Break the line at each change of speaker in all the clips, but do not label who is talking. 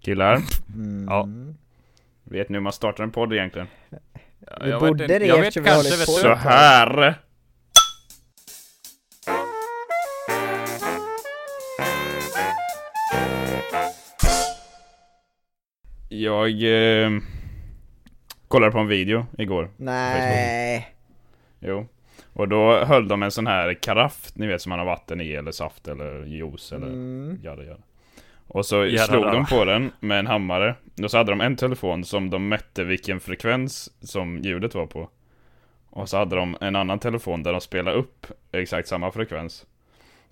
Killar,
Mm.
Ja. vet ni hur man startar en podd egentligen?
Vi
jag
borde
vet inte-
det
jag vet
eftersom vi
kanske,
hållit
vet
på
du.
Så här! Jag eh, kollade på en video igår,
Nej.
jo. Och då höll de en sån här karaff, ni vet som man har vatten i eller saft eller juice eller
Mm.
Jada, jada. Och så
Jada,
slog
jada.
de på den med en hammare. Och så hade de en telefon som de mätte vilken frekvens som ljudet var på. Och så hade de en annan telefon där de spelade upp exakt samma frekvens.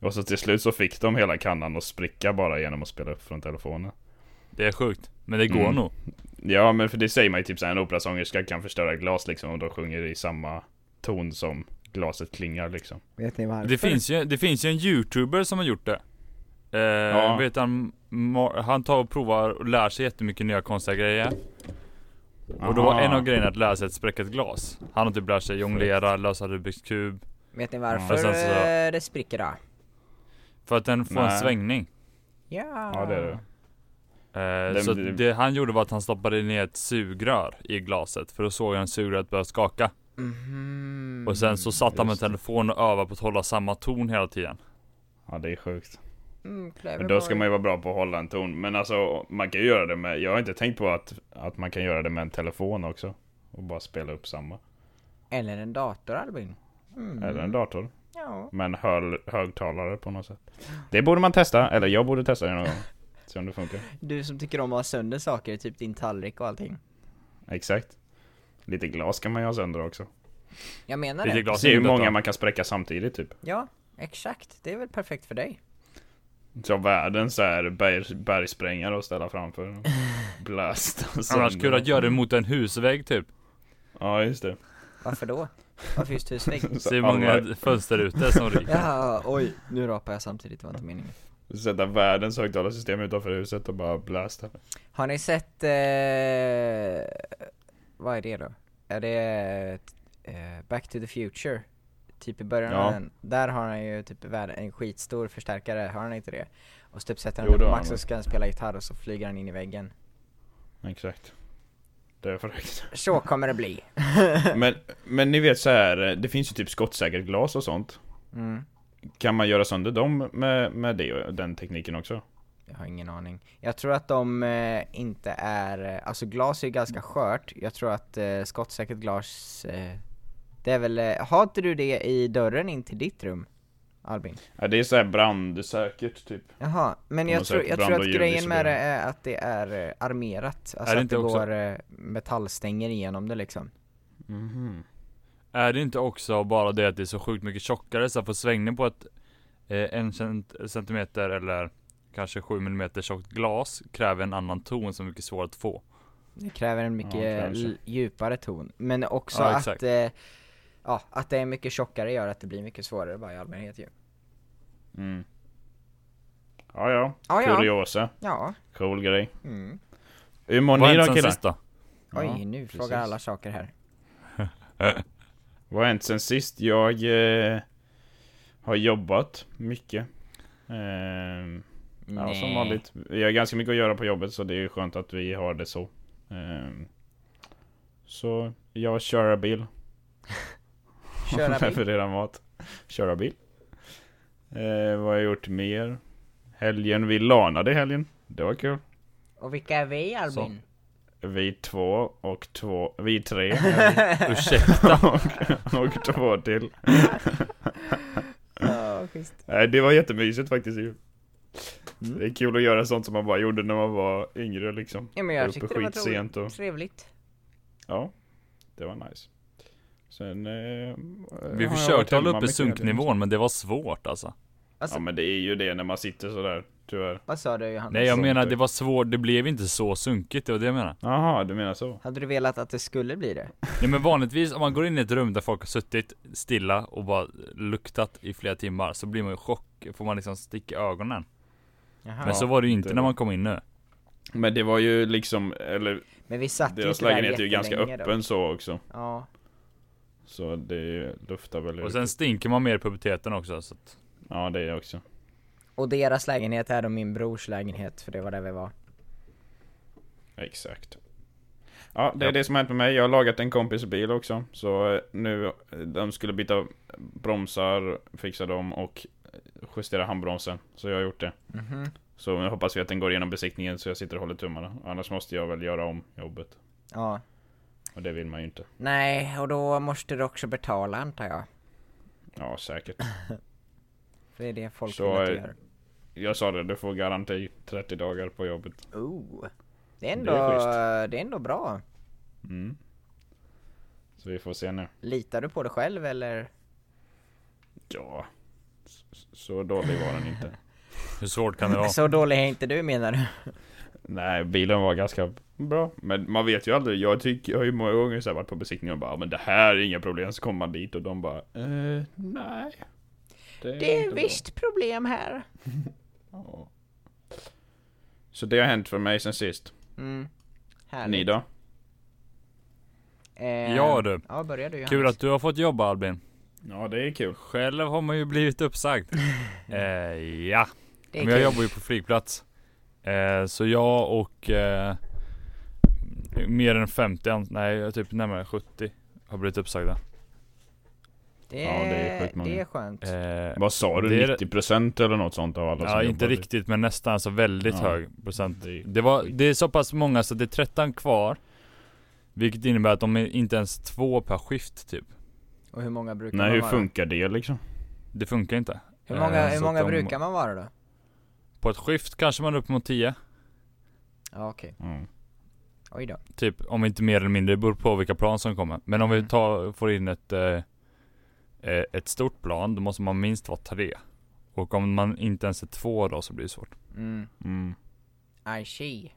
Och så till slut så fick de hela kannan att spricka bara genom att spela upp från telefonen.
Det är sjukt. Men det går
Mm.
nog.
Ja men för det säger man ju typ såhär, en operasångerska kan förstöra glas liksom och de sjunger i samma ton som glaset klingar liksom.
Vet ni varför?
Det finns, ju, det finns ju en youtuber som har gjort det. Eh,
Ja.
vet han, Ma- han tar och provar och lär sig jättemycket nya konstiga grejer. Och då var
Aha.
en av grejerna att lära sig att spräcka ett glas. Han har typ lärt sig jonglera, lösa Rubiks kub.
Vet ni
Och
varför
sen
alltså-
så-
eh, det spricker då?
För att den får
Nej.
en svängning.
Ja.
Ja det är det.
Eh, så
det-
det han gjorde var att han stoppade ner ett sugrör i glaset. För då såg han sugröret börja skaka.
Mhm.
Och sen så satt han med
just det.
telefonen och övade på att hålla samma ton hela tiden.
Ja det är sjukt.
Mm,
Men då ska man ju vara bra på att hålla en ton. Men alltså, man kan ju göra det med... Jag har inte tänkt på att, att man kan göra det med en telefon också. Och bara spela upp samma.
Eller en dator Albin. Mm.
Eller en dator.
Ja.
Men höl, högtalare på något sätt. Det borde man testa. Eller jag borde testa det någon gång. Se om det funkar.
Du som tycker om att ha sönder saker, typ din tallrik och allting.
Exakt. Lite glas kan man ju ha sönder också.
Jag menar
Lite
det.
glas
Se
i
hur
huvudet
många
då.
man kan spräcka samtidigt typ.
Ja, exakt. Det är väl perfekt för dig.
Så världens så här berg, bergsprängare att ställa framför. Blast. och
Annars
sönder.
skulle jag göra det mot en husvägg typ.
Ja just det.
Varför då? Varför just husvägg?
Så
Se hur
alla-
många fönsterrutor som ryker.
Ja, oj. Nu rapar jag samtidigt, det var inte meningen.
Sätta världens högtalarsystem utanför huset och bara blasta.
Har ni sett, eh, vad är det då? Är det eh, Back to the Future? Typ i början
Ja.
av den, där har han ju typ värld- en skitstor förstärkare, har han inte det? Och så typ sätter han
Jo,
den
det
på
har
max
han.
och ska han spela gitarr och så flyger han in i väggen.
Exakt. Det är fräckt.
Så kommer det bli.
Men, men ni vet så här, det finns ju typ skottsäkert glas och sånt.
Mm.
Kan man göra sönder dem med, med det och den tekniken också?
Jag har ingen aning. Jag tror att de eh, inte är, alltså glas är ju ganska skört, jag tror att eh, skottsäkert glas, eh, det är väl, eh, har inte du det i dörren in till ditt rum? Albin?
Ja, det är så här brandsäkert typ.
Jaha, men
Om man
jag
säger
tror,
att
jag
brand
tror
och
att
ljud
grejen med det
isolerar.
är att det är eh, armerat, alltså
det
att
inte
det
också-
går eh, metallstänger igenom det liksom
Mhm. Är det inte också bara det att det är så sjukt mycket tjockare så att få svängning på ett eh, en cent- centimeter eller kanske 7 millimeter tjockt glas kräver en annan ton som är mycket svårare att få.
Det kräver en
Ja,
mycket
kanske.
l- djupare ton, men också
Ja,
att,
exakt.
eh, ja, att det är mycket tjockare gör att det blir mycket svårare bara i allmänhet ju
Mm. Ja, ja.
Ja, ja.
Kuriosa.
Ja,
Cool grej.
mm.
Hur mår
Vad
ni
har
då
hänt sen
killar?
sist då?
oj
Ja,
nu
precis.
frågar alla saker här
Eh. Vad har hänt sen sist? Jag eh, har jobbat mycket. Ehm, Ja, som
Nej.
vanligt. Vi har ganska mycket att göra på jobbet så det är skönt att vi har det så. Ehm, Så jag kör bil.
Köra bil?
Levererar mat. Köra bil. Eh, vad har jag gjort mer? Helgen, vi lanade i helgen. Det var kul.
Och vilka är vi Albin?
Vi två och två, vi tre.
Ursäkta.
och, och två till.
Ja, schysst.
Nej, det var jättemysigt faktiskt ju.
Mm.
Det är kul att göra sånt som man bara gjorde när man var yngre liksom.
Ja men
Jag är
jag
uppe
tyckte det var
skitsent
trevligt,
och-
trevligt.
Ja, det var nice. Sen... Eh,
Vi försökte hålla uppe sunknivån men det var svårt alltså.
Ja men det är ju det när man sitter sådär, tyvärr.
Vad sa du Johannes?
Nej jag
Sånt
menar
är-
det var svårt, det blev inte så sunkigt, det var det jag menar.
Jaha, du menar så?
Hade du velat att det skulle bli det?
Nej men vanligtvis om man går in i ett rum där folk har suttit stilla och bara luktat i flera timmar så blir man ju i chock, får man liksom sticka i ögonen.
Jaha.
Men så var det ju inte
det
när
var-
man kom in nu.
Men det var ju liksom, eller
Men vi satt ju
deras
inte där
lägenhet är ju ganska
jättelänge
öppen så också.
Då. Ja,
Så det luftar väl
Och
ut.
sen stinker man mer i puberteten också så att
Ja det är också.
och deras lägenhet är då min brors lägenhet för det var där vi var
Exakt. Ja, det är det som har hänt med mig. Jag har lagat en kompis bil också. Så eh, nu, eh, de skulle byta bromsar, fixa dem och eh, justera handbromsen. Så jag har gjort det.
Mhm.
Så nu hoppas vi att den går igenom besiktningen så jag sitter och håller tummarna. Annars måste jag väl göra om jobbet.
Ja.
Och det vill man ju inte.
Nej, och då måste du också betala antar jag.
Ja, säkert.
Det är det folk
Så,
vill att du
eh,
gör.
Jag sa det, du får garanti 30 dagar på jobbet.
Oh. Det är
är
ändå,
schysst.
det är ändå bra.
Mm. Så vi får se nu.
Litar du på dig själv eller?
Ja, s- s- så dålig var den inte.
Hur svårt kan det vara?
Så dålig är inte du menar du?
Nej, bilen var ganska bra. Men man vet ju aldrig. Jag, tycker, jag har ju många gånger så här varit på besiktning och bara men det här är inga problem. Så kommer man dit och de bara eh, nej. är
Det är
inte bra."
visst problem här.
Ja. Så det har hänt för mig sen sist.
Mm.
Ni
Härligt.
då?
Eh,
Ja du.
Ja, börjar du Johannes.
Kul att du har fått jobba Albin.
Ja, det är kul.
Själv har man ju blivit uppsagd. eh, ja.
Det är
Men jag
kul.
jobbar ju på flygplats. Eh, så jag och eh, mer än 50, an- nej typ närmare 70 har blivit uppsagda.
Det,
Ja, det är sjukt många.
det är skönt.
Eh,
Vad sa du?
Det är-
90% eller något sånt av alla som
ja inte
jobbar?
riktigt men nästan, alltså väldigt
Ja.
hög procent.
Det är-
Det, var, det är så pass många så det är 13 kvar. Vilket innebär att de är inte ens två per skift typ.
Och hur många brukar
Nej,
man
hur
vara?
funkar det liksom?
Det funkar inte.
Hur många,
Eh,
hur
så
många
att de-
brukar man vara då?
På ett skift kanske man är upp mot 10.
Ja okej,
Mm.
oj då.
Typ om inte mer eller mindre, det beror på vilka plan som kommer. Men om vi
Mm.
tar, får in ett, eh, eh, ett stort plan, då måste man minst vara tre. Och om man inte ens är två då så blir det svårt.
Mm,
Mm.
I see.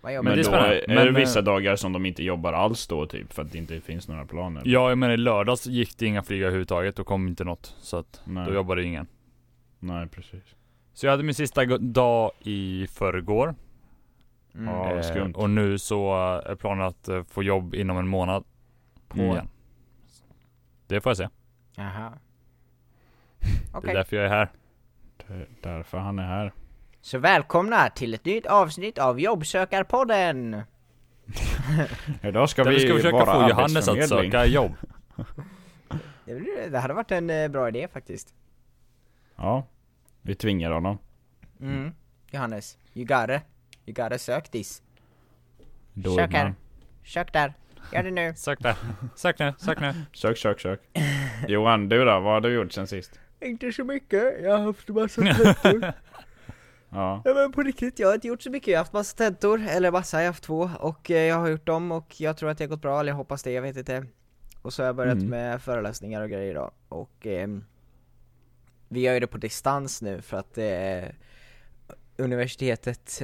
Vad jobbar
Men,
det är
då
spännande.
är,
Men,
det
eh,
vissa dagar som de inte jobbar alls då typ? För att det inte finns några planer?
Ja, jag menar i lördags gick det inga flyg överhuvudtaget, då kom inte något. Så att
Nej,
då jobbade ingen.
nej precis.
Så jag hade min sista go- dag i förrgår. Eh,
du? Mm.
Ja. vad skumt.
och nu så eh, är planen att eh, få jobb inom en månad.
Mm.
Igen. Det får jag se.
Aha.
Det
Okej,
är därför jag är här.
Det är därför han är här.
så välkomna till ett nytt avsnitt av Jobbsökarpodden!
Idag ska
Där vi
vi,
ska försöka
vara
få Johannes att
arbetsförmedling.
söka jobb.
Det, blir- det hade varit en eh, bra idé faktiskt.
Ja, vi tvingar honom.
Mm. Johannes, you gotta, you gotta sök this.
Då
Sök
är man-
här. Sök där. Gör det nu.
Sök där. Sök nu, sök nu.
Sök, sök, sök. Johan, du då? Vad har du gjort sen sist?
Inte så mycket, jag har haft massa tentor.
Ja,
Ja men på riktigt, jag har inte gjort så mycket. Jag har haft massa tentor, eller massa, jag har haft två. Och eh, jag har gjort dem och jag tror att det har gått bra, eller jag hoppas det, jag vet inte. Och så har jag börjat
Mm.
med föreläsningar och grejer idag. Och ehm, vi gör ju det på distans nu för att eh, universitetet,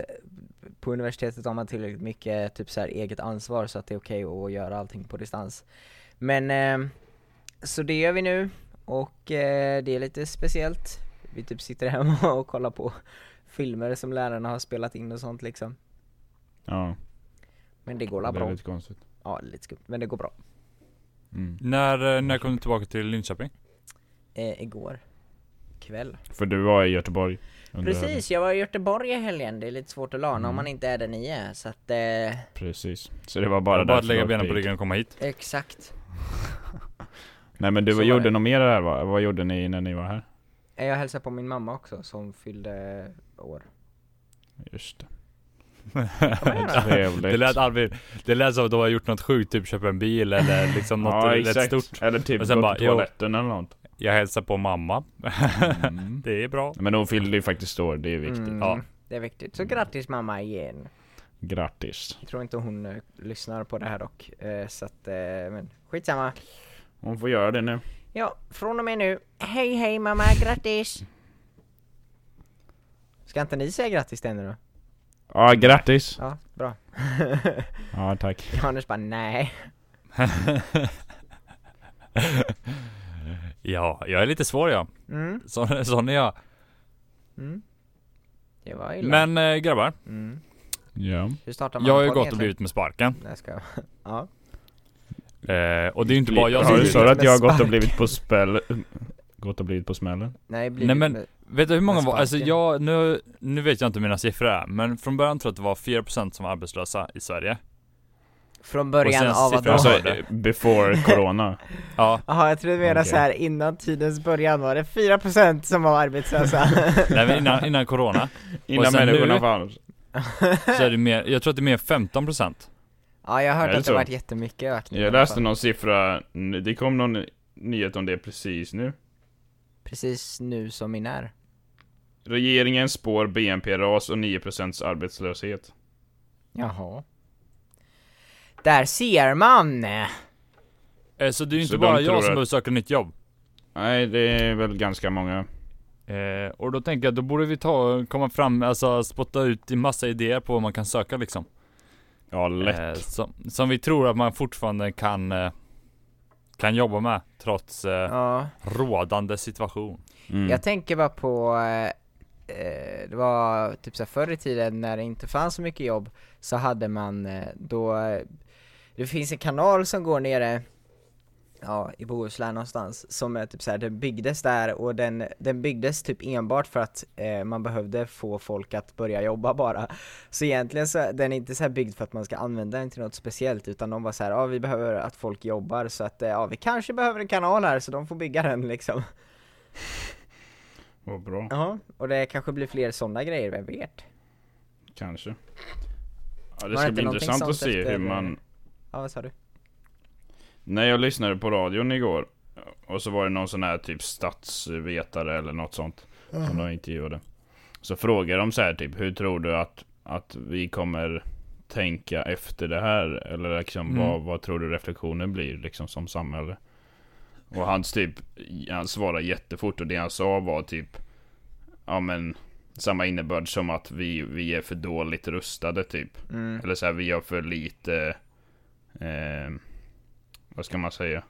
på universitetet har man tillräckligt mycket typ så här, eget ansvar så att det är okej att göra allting på distans. Men, ehm, så det gör vi nu. Och eh, det är lite speciellt. Vi typ sitter hemma och kollar på filmer som lärarna har spelat in och sånt liksom.
ja.
Men det går
Det
la
är
bra.
lite konstigt.
Ja, lite skumt. Men det går bra.
Mm.
När, eh, när kom du tillbaka till Linköping?
Eh, igår kväll.
För du var i Göteborg. under helgen.
Precis, jag var i Göteborg i helgen. Det är lite svårt att lana om
Mm.
man inte är där ni är. Så att, eh,
Precis. Så det var
Bara,
bara
bara
därför
att lägga
du var
benen på
pigg.
ryggen och komma hit.
exakt.
Nej men du,
Så
vad
var
gjorde
det.
något mer där va? Vad gjorde ni när ni var här?
Eh, Jag hälsade på min mamma också som fyllde år.
Just det.
det
Trevligt.
lät Arvid, det lät som att du har gjort något sjukt, typ köpt en bil eller liksom något
ja,
rätt
exakt.
stort.
Eller typ
Och sen
gå
bara,
på
jo.
toaletten eller något.
Jag hälsar på mamma.
Mm.
Det är bra.
Men hon fyllde ju faktiskt år, det är viktigt.
Mm,
ja.
Det är viktigt. Så grattis mamma igen.
Grattis.
Jag tror inte hon eh, lyssnar på det här dock. Eh, så att, eh, men skitsamma.
Hon får göra det nu.
Ja, från och med nu. Hej hej mamma, grattis! Ska inte ni säga grattis till henne då?
Ja, grattis.
Ja, bra.
Ja, tack.
Johannes bara nej.
ja, jag är lite svår jag.
Mm,
Så, sån är jag.
mm. Det var illa.
Men eh, grabbar,
Mm.
Ja.
Hur startar man
jag har
en
ju
podd
gått och
egentligen?
blivit med sparken.
Nej, jag skojar. Ja.
Eh, och det är ju inte bara jag
Ja,
som
du
blivit
sa
det.
att jag har gått och
Sparken.
blivit på spel Gått och blivit på smällen.
Nej, blir
Nej,
det-
men- Vet du hur många
Med
var, alltså
sparken.
jag, nu, nu vet jag inte hur mina siffror är, men från början tror jag att det var 4% som var arbetslösa i Sverige.
Från början
sen
av att
siffror-
de...
Alltså,
har det.
eh, before corona.
Ja,
Jaha, jag trodde du menade
Okej.
så här innan tidens början var det 4% som var arbetslösa
nej men innan, innan corona.
Innan
sen
människorna
nu-
fanns.
Så är det mer, jag tror att det är mer 15%.
Ja, jag
Är
har hört
det
att det
så?
varit jättemycket ökning
Jag
i alla
läste
fall.
någon siffra, n- det kom någon nyhet om det precis nu.
Precis nu som min är
Regeringen spår BNP-ras och 9% arbetslöshet.
Jaha Där ser man!
Eh, Så det är ju inte
Så de
bara
tror
jag som
att-
behöver söka nytt jobb.
Nej, det är väl ganska många.
Eh, och då tänker jag, då borde vi ta, komma fram, alltså spotta ut i massa idéer på vad man kan söka liksom.
Ja, lätt.
Eh, som, som vi tror att man fortfarande kan, eh, kan jobba med, trots eh,
Ja,
rådande situation.
Mm.
jag tänker bara på eh, eh, Det var typ så här förr i tiden när det inte fanns så mycket jobb Så hade man eh, då eh, Det finns en kanal som går nere Ja, i Bohuslän någonstans, som är typ så här, den byggdes där och den, den byggdes typ enbart för att eh, man behövde få folk att börja jobba bara. Så egentligen så, är den är inte så här byggd för att man ska använda den till något speciellt utan de bara så här, ja vi behöver att folk jobbar så att, eh, ja vi kanske behöver en kanal här så de får bygga den liksom.
Vad bra.
Ja, och det kanske blir fler sådana grejer, vem vet?
Kanske. Ja,
det
det ska
inte
bli
någonting
intressant
sånt
att se
efter-
hur man...
Ja, vad sa du?
När jag lyssnade på radion igår och så var det någon sån här typ statsvetare eller något sånt som de intervjuade. Så frågade de så här typ, hur tror du att, att vi kommer tänka efter det här? Eller liksom
Mm.
vad, vad tror du reflektionen blir liksom som samhälle? Och hans typ, han svarade jättefort och det han sa var typ, ja men samma innebörd som att vi, vi är för dåligt rustade typ.
Mm.
Eller så här, vi gör för lite... Eh, vad ska man säga?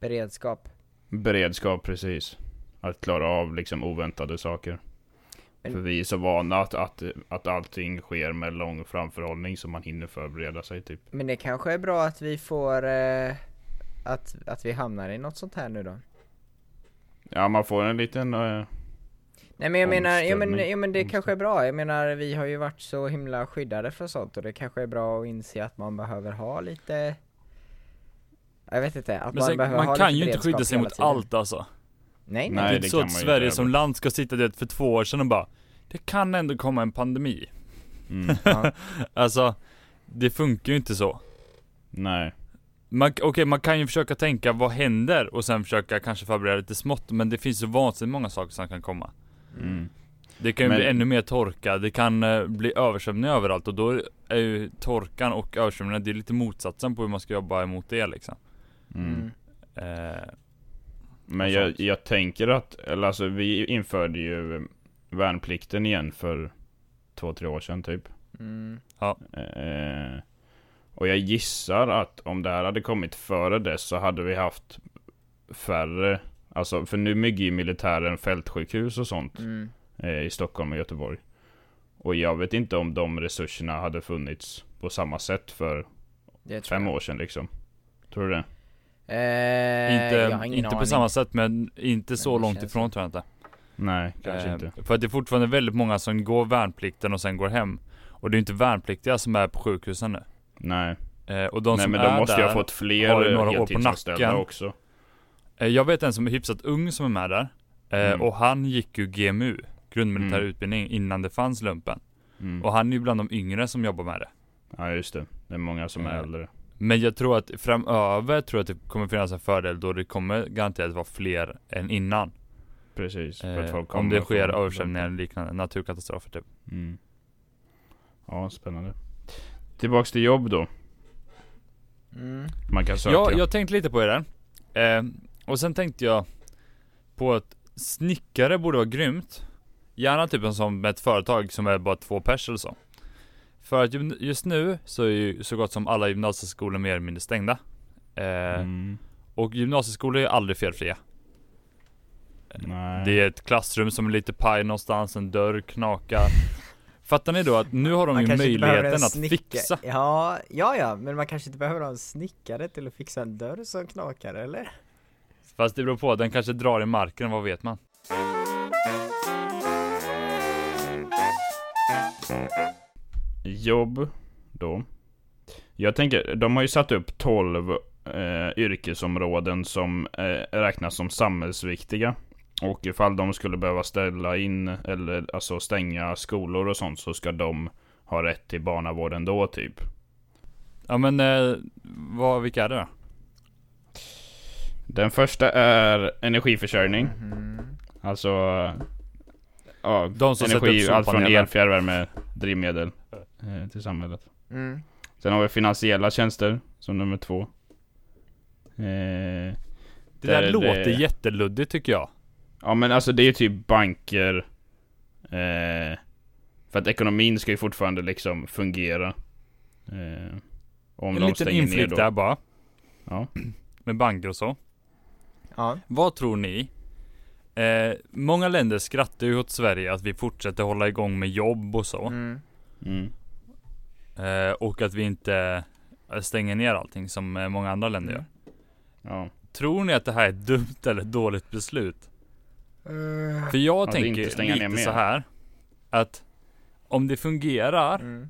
Beredskap.
Beredskap, precis. Att klara av liksom oväntade saker.
Men-
För vi är så vana att, att, att allting sker med lång framförhållning så man hinner förbereda sig typ.
Men det kanske är bra att vi får, eh, att, att vi hamnar i något sånt här nu då.
Ja, man får en liten... Eh,
Nej men jag menar, ja men,
Omställning.
ja, men det
Omställning.
kanske är bra. Jag menar vi har ju varit så himla skyddade från sånt och det kanske är bra att inse att man behöver ha lite Jag vet inte, att
Men
man
sen,
behöver
man
ha
kan
lite
ju inte skydda
beredskap
sig
hela
mot
tiden.
allt alltså.
Nej
Nej,
nej.
det är inte
det
så
kan
att
man ju
Sverige
inte
som
heller.
land ska sitta där för två år sedan och bara Det kan ändå komma en pandemi.
mm,
Ja.
Alltså, det funkar ju inte så.
nej.
Man, okej, man kan ju försöka tänka vad händer och sen försöka kanske förbereda lite smått. Men det finns ju vansinnigt många saker som kan komma.
Mm.
Det kan ju
Men-
bli ännu mer torka, det kan eh, bli översvämning överallt och då är ju torkan och översvämningen, det är lite motsatsen på hur man ska jobba emot det liksom.
Mm.
Mm.
Eh,
Men
Och
jag,
sånt.
jag tänker att, eller alltså vi införde ju eh, värnplikten igen för två, tre år sedan typ.
Mm.
Eh, och jag gissar att om det här hade kommit före dess så hade vi haft färre. Alltså, för nu bygger ju militären fältsjukhus och sånt
Mm.
eh, i Stockholm och Göteborg. Och jag vet inte om de resurserna hade funnits på samma sätt för
Det tror
fem
jag.
år sedan liksom. Tror du det?
Eh, jag har
inte
ingen
inte på
aning.
samma sätt men inte så
det
långt
känns
ifrån tror jag inte.
Nej, kanske
Eh,
inte.
För att det är fortfarande väldigt många som går värnplikten och sen går hem. Och det är inte värnpliktiga som är på sjukhusen nu.
Nej,
Eh, och de
Nej
som
men
är
de måste
där,
ju ha fått
har
fler
ju några år på
heltidsanställda
nacken.
också.
eh, Jag vet en som är hyfsat ung som är med där. Eh,
Mm.
Och han gick ju GMU, grundmilitär
Mm.
utbildning, innan det fanns lumpen.
Mm.
Och han är ju bland de yngre som jobbar med det.
Ja just det. Det är många som är
Eh,
äldre.
Men jag tror att framöver tror jag att det kommer finnas en fördel då det kommer garanterat vara fler än innan.
Precis. för att
Eh,
folk
om
kommer
det sker
från-
översvämningar eller liknande, naturkatastrofer typ.
Mm. Ja, spännande. Tillbaks till jobb då.
Mm.
Man kan söka.
Jag, jag tänkte lite på det där. Eh, och sen tänkte jag på att snickare borde vara grymt. Gärna typ en sån med ett företag som är bara två pers eller så. För att ju- just nu så är ju så gott som alla gymnasieskolor mer eller mindre stängda. Eh,
Mm.
Och gymnasieskolor är aldrig felfria.
Nej.
Eh, Det är ett klassrum som är lite paj någonstans, en dörr knakar. Fattar ni då att nu har de
Man
ju
kanske inte behöver en
möjligheten att
snicka-
fixa.
Ja, ja, ja, men man kanske inte behöver ha en snickare till att fixa en dörr som knakar eller?
Fast det beror på, den kanske drar i marken, vad vet man?
Jobb då. Jag tänker, de har ju satt upp 12 eh, yrkesområden som eh, räknas som samhällsviktiga. Och ifall de skulle behöva ställa in eller alltså stänga skolor och sånt så ska de ha rätt till barnavård ändå typ.
Ja men, eh, vad, vilka är det då?
Den första är energiförsörjning. Alltså, ja,
De som
energi,
sätter upp
allt från
solpaneler.
el, fjärrvärme, drivmedel eh, till samhället.
Mm.
Sen har vi finansiella tjänster som nummer två. Eh,
Det där
Där är
låter
det-
jätteluddigt tycker jag.
ja men alltså det är ju typ banker. Eh, för att ekonomin ska ju fortfarande liksom fungera. Eh, om
en
de
liten
stänger ner
inflick
då.
där bara.
Ja.
Med banker och så.
Ja.
Vad tror ni? Eh, många länder skrattar ju åt Sverige att vi fortsätter hålla igång med jobb och så.
Mm.
Mm.
Eh, och att vi inte eh, stänger ner allting som eh, många andra länder
Mm.
gör.
Ja.
Tror ni att det här är ett dumt eller ett dåligt beslut?
Eh.
För jag
Att
tänker
inte stänga ner
lite
mer.
så här. Att om det fungerar,
Mm.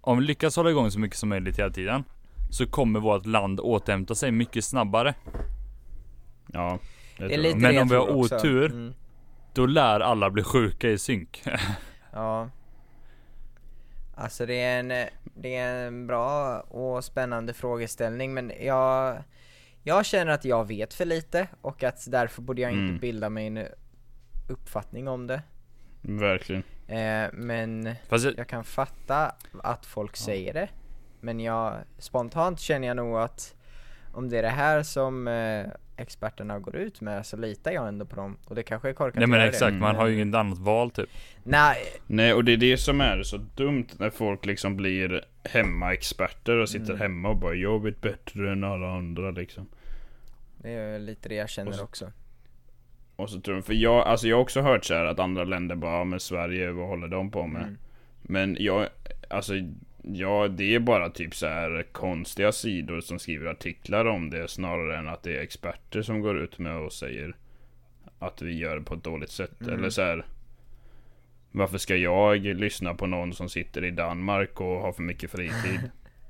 om vi lyckas hålla igång så mycket som möjligt hela tiden. Så kommer vårt land återhämta sig mycket snabbare.
Ja. det
Det är
tror
lite
jag.
Men
det jag
om vi har
tror också.
otur-
Mm.
Då lär alla bli sjuka i synk.
Ja. Alltså det är, en, det är en bra och spännande frågeställning men jag, jag känner att jag vet för lite och att därför borde jag
Mm.
inte bilda mig en uppfattning om det.
Verkligen.
Eh, men
Fast jag,
jag kan fatta att folk säger det. Men jag, spontant känner jag nog att om det är det här som eh, experterna går ut med så litar jag ändå på dem. Och det kanske är korkat
nej
att
men
göra
exakt,
det.
man har
Mm.
ju inget annat val typ.
Nej,
Nej, och det är det som är så dumt när folk liksom blir hemmaexperter och sitter hemma och bara jag vet bättre än alla andra liksom.
det är lite det jag känner också.
Och så tror de, för jag, alltså jag har också hört så här att andra länder bara, "Ja, men Sverige, vad håller de på med? Men jag, alltså, ja det är bara typ så här konstiga sidor som skriver artiklar om det snarare än att det är experter som går ut med och säger att vi gör det på ett dåligt sätt. Eller så här. Varför ska jag lyssna på någon som sitter i Danmark och har för mycket fritid?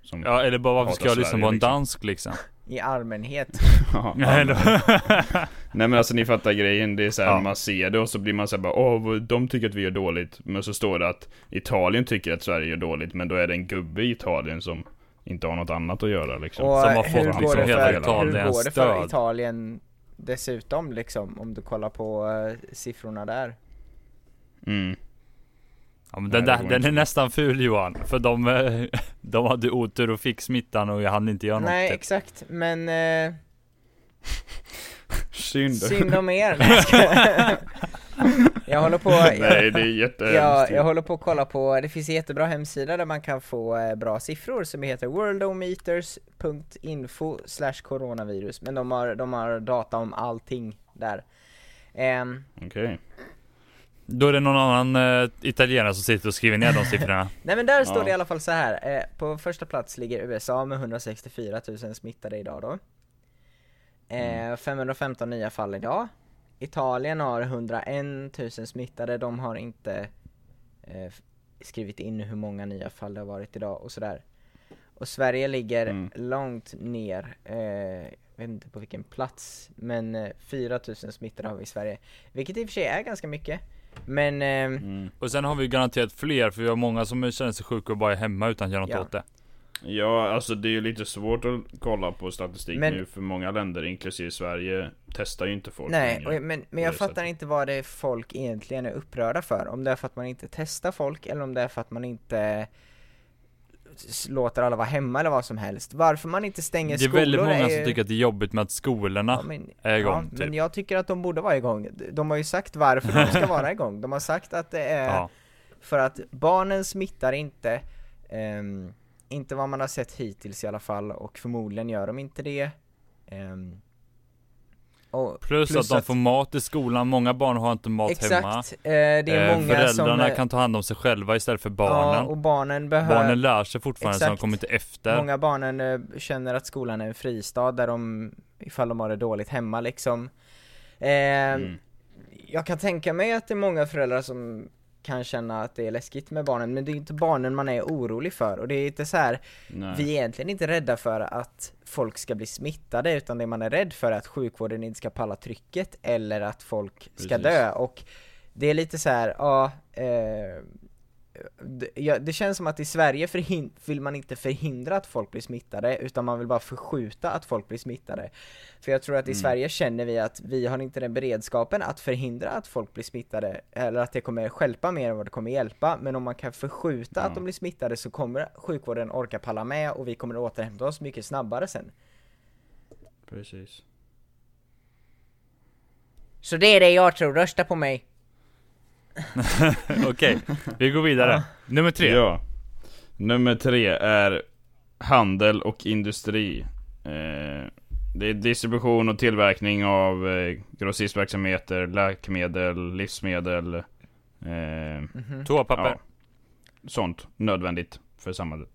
Som,
Ja eller bara varför ska
Hatar
jag lyssna
Sverige,
på en
liksom.
dansk liksom?
I allmänhet.
Ja,
Nej,
Nej men alltså ni fattar grejen, det är såhär
Ja.
man ser det och så blir man såhär bara åh vad- de tycker att vi gör dåligt Men så står det att Italien tycker att Sverige gör dåligt men då är det en gubbe i Italien som inte har något annat att göra liksom
Och eh,
Som har
hur går
fått liksom
det
hela
för,
Italien
hur går det för
stöd.
Italien dessutom liksom? Om du kollar på eh, siffrorna där.
mm.
Ja, men
Nej,
den,
det
där,
går
den
inte.
är nästan ful Johan. För de, eh, de hade otur och fick smittan och jag hann inte göra något.
Nej
typ.
exakt, men eh,
Synd
synd om er. Nej, jag skojar. Jag håller på, jag,
Nej det är jättehemskt
jag,
eh, ju.
jag håller på att kolla på, det finns en jättebra hemsida där man kan få eh, bra siffror som heter worldometers.info slash coronavirus. Men de har, de har data om allting där. Ehm,
Okej
Då är det någon annan eh, italienare som sitter och skriver ner de siffrorna.
Nej men där står
Ja.
det i alla fall så här. Eh, på första plats ligger USA med 164 000 smittade idag då.
Mm.
Eh, 515 nya fall idag. Italien har 101 000 smittade, de har inte eh, f- skrivit in hur många nya fall det har varit idag och sådär. Och Sverige ligger
Mm.
långt ner, eh, jag vet inte på vilken plats, men eh, 4 000 smittade har vi i Sverige. Vilket i och för sig är ganska mycket. Men ehm,
mm.
Och sen har vi garanterat fler för vi har många som känner sig sjuka och bara är hemma utan att göra något
Ja.
åt det.
Ja alltså det är ju lite svårt att kolla på statistik
Men-
nu för många länder inklusive Sverige testar ju inte folk
Nej,
längre.
och, men, men
det
jag fattar
sättet.
inte vad det är folk egentligen är upprörda för. Om det är för att man inte testar folk eller om det är för att man inte s- låter alla vara hemma eller vad som helst. Varför man inte stänger
Det är
skolor
väldigt många
ju-
som tycker att det är jobbigt med att skolorna
Ja, men,
är
ja,
igång typ.
men jag tycker att de borde vara igång. De har ju sagt varför de ska vara igång. De har sagt att det är
ja.
för att barnen smittar inte, ehm, inte vad man har sett hittills i alla fall och förmodligen gör de inte det. Ehm, och
Plus, att de får mat i skolan, många barn har inte mat
Exakt,
hemma.
eh, det är
Eh,
många som...
Föräldrarna
eh,
kan ta hand om sig själva istället för
Ja,
barnen.
och barnen behöver...
Barnen lär sig fortfarande så de
Exakt.
kommer inte efter.
Många barnen eh, känner att skolan är en fristad där de ifall de har det dåligt hemma liksom. Eh,
Mm.
Jag kan tänka mig att det är många föräldrar som kan känna att det är läskigt med barnen, men det är inte barnen man är orolig för och det är inte så här
Nej.
vi är egentligen inte rädda för att folk ska bli smittade utan det man är rädd för är att sjukvården inte ska palla trycket eller att folk ska
Precis.
dö och det är lite så här, ja, eh, det, ja, det känns som att i Sverige förhin- vill man inte förhindra att folk blir smittade utan man vill bara förskjuta att folk blir smittade. För jag tror att i
Mm.
Sverige känner vi att vi har inte den beredskapen att förhindra att folk blir smittade eller att det kommer stjälpa mer än vad det kommer hjälpa. Men om man kan förskjuta att
Ja.
de blir smittade så kommer sjukvården orka palla med och vi kommer återhämta oss mycket snabbare sen.
Precis.
Så det är det jag tror, rösta på mig!
Okej, vi går vidare. Nummer tre.
Ja. Nummer tre är handel och industri. Eh, det är distribution och tillverkning av eh, grossistverksamheter, läkemedel, livsmedel, eh,
Mhm.
Toapapper.
Ja, sånt nödvändigt för samhället.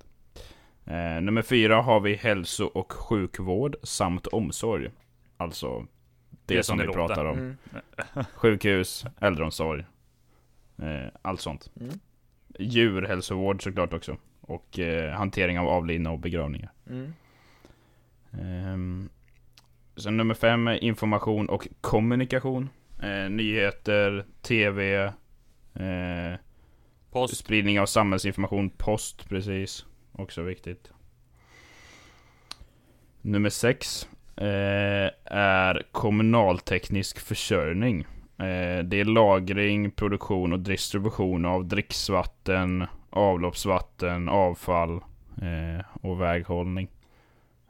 Eh, nummer fyra har vi hälso och sjukvård samt omsorg. Alltså det,
Det
som
som
vi
det
pratar
låter.
om.
Mm.
Sjukhus, äldreomsorg. Eh, allt sånt.
Mm.
Djurhälsovård såklart också. Och eh, hantering av avlidna och begravningar.
Mm.
Ehm, sen nummer fem är information och kommunikation. Eh, nyheter, TV, eh,
Post.
Spridning av samhällsinformation, post precis. Också viktigt. Nummer sex eh, är kommunalteknisk försörjning. Eh, det är lagring, produktion och distribution av dricksvatten, avloppsvatten, avfall eh, och väghållning.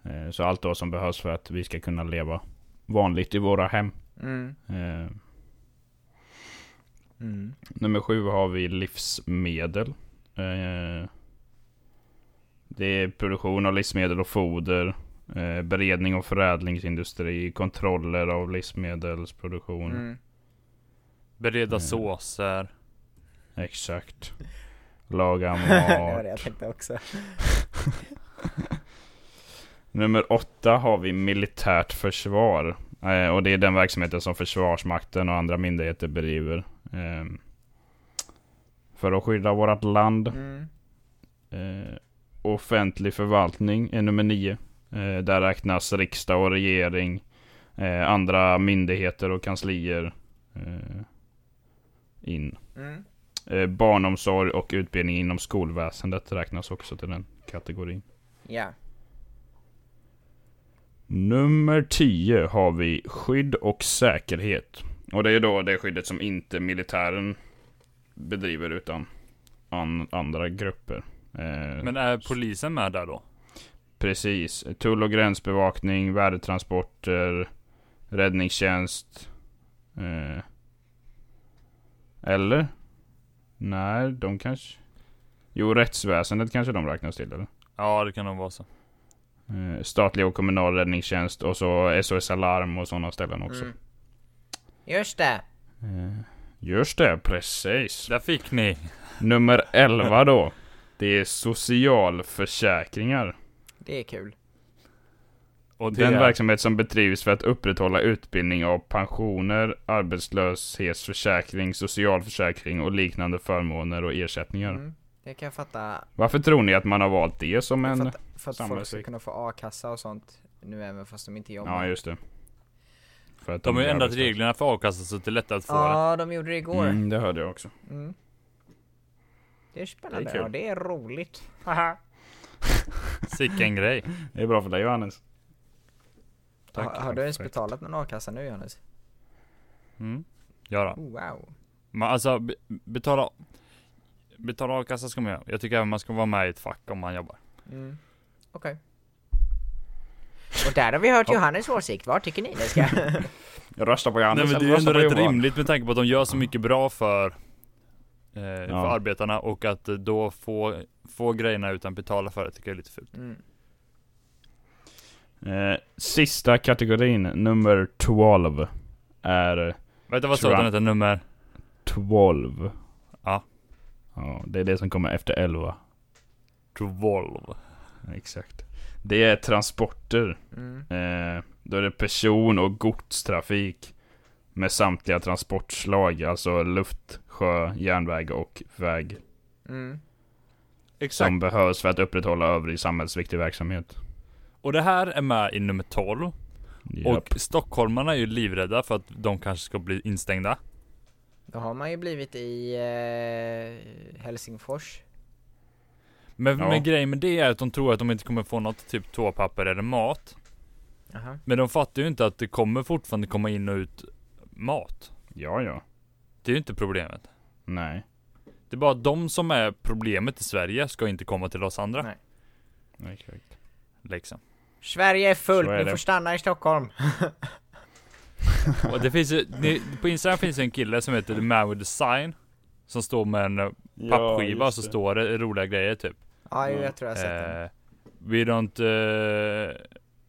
Eh, så allt då som behövs för att vi ska kunna leva vanligt i våra hem.
Mm.
Eh,
Mm.
Nummer sju har vi livsmedel. Eh, det är produktion av livsmedel och foder. Eh, beredning och förädlingsindustri. Kontroller av livsmedelsproduktion.
Mm.
Bereda
Mm.
såser.
Exakt. Laga
det var
mat.
det jag tänkte också.
Nummer åtta har vi militärt försvar. Eh, och det är den verksamheten som Försvarsmakten och andra myndigheter bedriver. Eh, för att skydda vårt land.
Mm.
Eh, offentlig förvaltning är nummer nio. Eh, där räknas riksdag och regering, eh, andra myndigheter och kanslier eh, in.
Mm.
Eh, barnomsorg och utbildning inom skolväsendet räknas också till den kategorin.
Ja.
Nummer 10 har vi skydd och säkerhet. Och det är då det skyddet som inte militären bedriver utan an- andra grupper. Eh,
Men är polisen med där då?
Precis. Tull och gränsbevakning, värdetransporter, räddningstjänst. Eh. Eller? Nej, de kanske... Jo, rättsväsendet kanske de räknas till eller?
Ja det kan nog vara så.
Eh, statlig och kommunal räddningstjänst och så SOS Alarm och sådana ställen också.
Mm. Just det!
Eh. Just det, precis.
Där fick ni!
Nummer 11 då. Det är socialförsäkringar.
Det är kul.
Och det
Den
är
verksamhet som bedrivs för att upprätthålla utbildning av pensioner, arbetslöshetsförsäkring, socialförsäkring och liknande förmåner och ersättningar.
Mm. Det kan jag fatta
Varför tror ni att man har valt det som
för
en...
att, för att folk ska
samhällsvikt.
kunna få a-kassa och sånt nu även fast de inte jobbar.
Ja, just det. För att
De har ju
blir
ändrat
arbetslösa.
reglerna för a-kassa så att det är lättare att få det.
Ja, de gjorde det igår. Mm.
Mm, det hörde jag också.
Det är
Det
spännande
är kul.
och det är roligt.
Sicken grej.
Det är bra för dig Johannes. Tack.
ha, har du ens
Perfekt.
betalat någon a-kassa nu Johannes?
Mm. Göra.
Oh, wow.
Man, alltså be- betala. Betala a-kassa ska man göra. Jag tycker även man ska vara med i ett fack om man jobbar.
Mm. Okej. Och där har vi hört
Ja.
Johannes åsikt. Vad tycker ni? Det ska...
Jag röstar på
Nej
Johannes.
men det är alltså
eller
ju ändå
röstar på
rätt
Johan?
rimligt med tanke på att de gör så mycket bra för, eh, för arbetarna och att eh, då få, få grejerna utan betala för det tycker jag är lite fult.
mm.
Eh, sista kategorin, nummer 12. Är
Vänta vad sa
Tror
du
jag.
att den heter? Nummer?
12.
Ja.
Ja, det är det som kommer efter 11.
12.
Exakt. Det är transporter.
Mm.
Eh, då är det person och godstrafik med samtliga transportslag, alltså luft, sjö, järnväg och väg.
Mm.
Exakt.
Som behövs för att upprätthålla övrig samhällsviktig verksamhet.
Och det här är med i nummer 12.
Japp.
Och stockholmarna är ju livrädda för att de kanske ska bli instängda.
Då har man ju blivit i eh, Helsingfors.
Men,
Ja.
men grejen med det är att de tror att de inte kommer få något typ toapapper eller mat.
Jaha.
Men de fattar ju inte att det kommer fortfarande komma in och ut mat.
Ja, ja.
Det är ju inte problemet.
Nej.
Det är bara de som är problemet i Sverige ska inte komma till oss andra.
Nej.
Exakt.
Liksom.
Sverige är fullt,
Så är
ni
det.
får stanna i Stockholm.
Och det finns ju, ni, på Instagram finns ju en kille som heter The Man With The Sign. Som står med en eh, pappskiva så står det roliga grejer typ.
Ja, jo,
Mm.
jag tror jag har sett den.
Eh, we don't eh,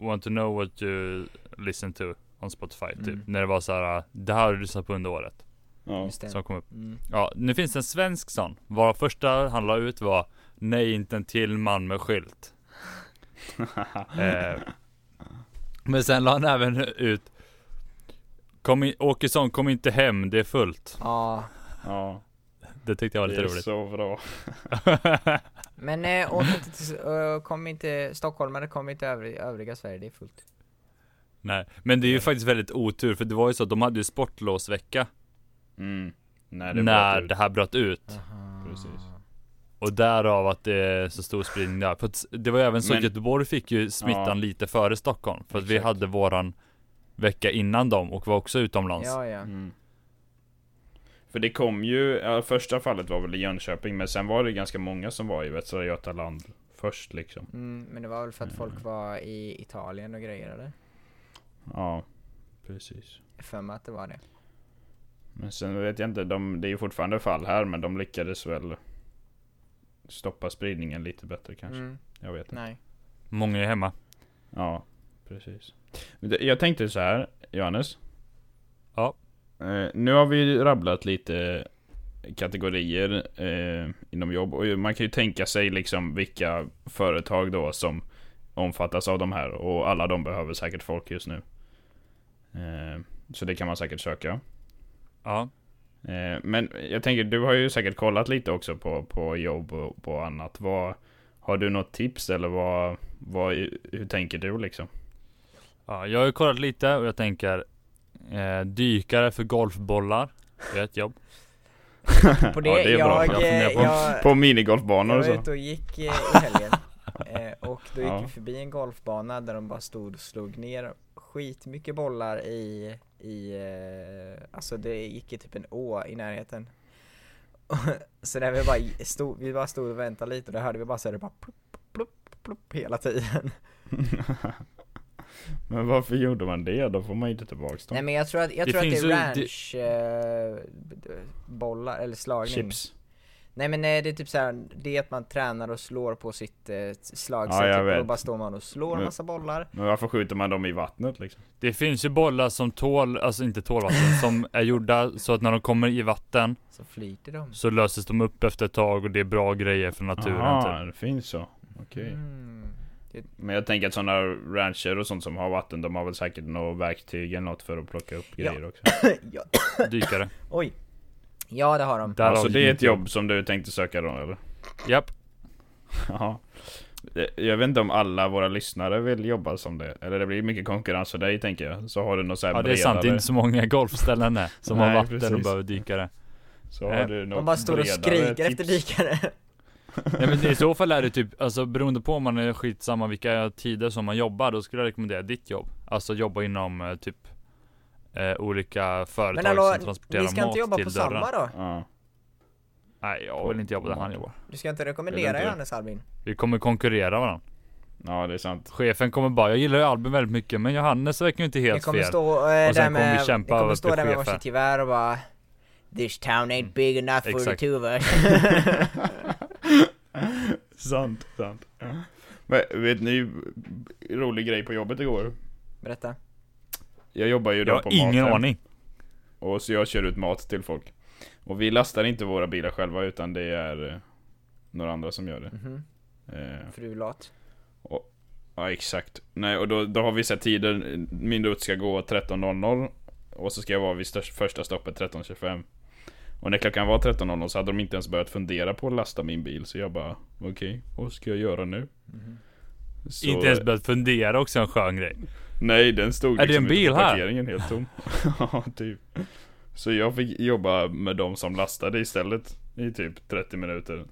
want to know what you listen to on Spotify typ.
Mm.
När det var så här, det här har du lyssnat på under året.
Ja.
Just det.
Som kom upp.
Mm.
Ja, nu finns det en svensk sån. Vår första han la ut var Nej inte en till man med skylt. eh, men sen la han även ut kom in, Åkesson kom inte hem, det är fullt.
Ja,
ja.
Det tyckte jag var
Det
lite
är
roligt.
så bra.
men eh, åk inte till, eh, kom inte, stockholmare kom inte övrig, övriga Sverige, det är fullt.
Nej, men det är ju faktiskt väldigt otur för det var ju så att de hade ju sportlovsvecka
Mm. När det
när
bröt
det här bröt ut.
Precis.
Och därav att det är så stor spridning där. För att det var ju även så
Men-
att Göteborg fick ju smittan
Ja.
lite före Stockholm. För att vi
Exakt.
hade våran vecka innan dem och var också utomlands.
Ja, ja.
Mm. För det kom ju, ja, första fallet var väl i Jönköping men sen var det ganska många som var i Västra Götaland först liksom.
Mm, men det var väl för att folk var i Italien och grejer eller?
Ja, precis.
Jag har för mig att det var det.
Men sen vet jag inte, de, det är ju fortfarande fall här men de lyckades väl stoppa spridningen lite bättre kanske.
Mm,
Jag vet inte.
nej.
Många är hemma.
Ja, precis. Men det- Jag tänkte så här, Johannes.
Ja.
Eh, nu har vi ju rabblat lite kategorier eh, inom jobb och ju- man kan ju tänka sig liksom vilka företag då som omfattas av de här och alla de behöver säkert folk just nu. Eh, så det kan man säkert söka.
Ja.
Eh, Men jag tänker, du har ju säkert kollat lite också på, på jobb och på annat. Vad, har du något tips eller vad, vad, hur tänker du liksom?
ja. Jag har ju kollat lite och jag tänker eh, dykare för golfbollar. Det är ett jobb.
På det,
ja, det är bra.
jag,
Jag
eh,
funderar på,
jag,
på minigolfbanor
jag
och
var
så.
ute och gick eh, i helgen. Eh, och då gick
Ja.
vi förbi en golfbana där de bara stod och slog ner skitmycket bollar i, i eh, alltså det gick i typ en å i närheten. Och- Så när vi bara stod, vi bara stod och väntade lite och då hörde vi bara så här, det bara plupp, plupp, plupp hela tiden.
Men varför gjorde man det? Då får man ju inte tillbaks
Nej
dem.
men jag tror att, jag
Det
tror att det
finns
är
ju-
ranch eh, b- d- bollar eller slagning.
Chips.
Nej men eh, det är typ så här, det är att man tränar och slår på sitt eh, slagsätt
Ja, jag
typ, och då
vet.
bara står man och slår
Men-
massa bollar.
Men varför skjuter man dem i vattnet liksom?
Det finns ju bollar som tål, alltså inte tål vatten, som är gjorda så att när de kommer i vatten
Så flyter de.
så löses de upp efter ett tag och det är bra grejer för naturen.
Aha,
typ.
det finns så. Okej.
Mm.
Men jag tänker att sådana rancher och sånt som har vatten, de har väl säkert något verktyg eller något för att plocka upp
Ja.
grejer också.
ja,
typ. Dykare.
oj. Ja det har de.
Därav
alltså det är ett
mitt
jobb som du tänkte söka då eller?
Japp.
Ja. Det- Jag vet inte om alla våra lyssnare vill jobba som det. Eller det blir mycket konkurrens för dig tänker jag. Så har du något så här
Ja det är
bredare.
sant, det är inte så många golfställen här som har
Nej,
vatten och
precis.
behöver dykare.
Så
Nej.
har du något
De bara står och
bredare
skriker
tips.
efter dykare.
Nej men i så fall är det typ, alltså beroende på om man är skitsamma vilka tider som man jobbar, då skulle jag rekommendera ditt jobb. Alltså jobba inom eh, typ eh, olika företag
Men hallå,
som transporterar
ni ska
mat
inte jobba
till
på
dörren.
samma då?
Ja.
Nej jag vill inte jobba där han jobbar.
Du ska inte
Vill du
rekommendera
inte?
Johannes Albin?
Vi kommer konkurrera varandra.
ja, det är sant.
Chefen kommer bara, jag gillar ju Albin väldigt mycket men Johannes verkar ju inte
Ni
helt
kommer
fel.
stå eh,
Och sen
där
kommer vi
med, ni
kämpa
kommer
över
stå där med
chefen.
varsitt gevär och bara This town ain't big enough for the
Exakt.
two of us.
sant, sant. Men vet ni, rolig grej på jobbet igår.
Berätta.
Mm.
Jag jobbar ju då
Jag har
på
ingen
maten.
aning.
Och så jag kör ut mat till folk. Och vi lastar inte våra bilar själva utan
Mm-hmm.
det är eh, några andra som gör det.
Mhm.
Eh,
Frulat.
Ja exakt. Nej och då, då har vissa tider, min rutt ska gå 13.00 och så ska jag vara vid störst, första stoppet 13.25. Och när klockan var 13.00 så hade de inte ens börjat fundera på att lasta min bil så jag bara okej, vad ska jag göra nu?
Mm-hmm.
Så-
Inte ens börjat fundera också en skön grej.
Nej, den stod liksom
Är det en
ute
bil
på
här?
parkeringen helt tom. ja, typ. Så jag fick jobba med de som lastade istället i typ 30 minuter.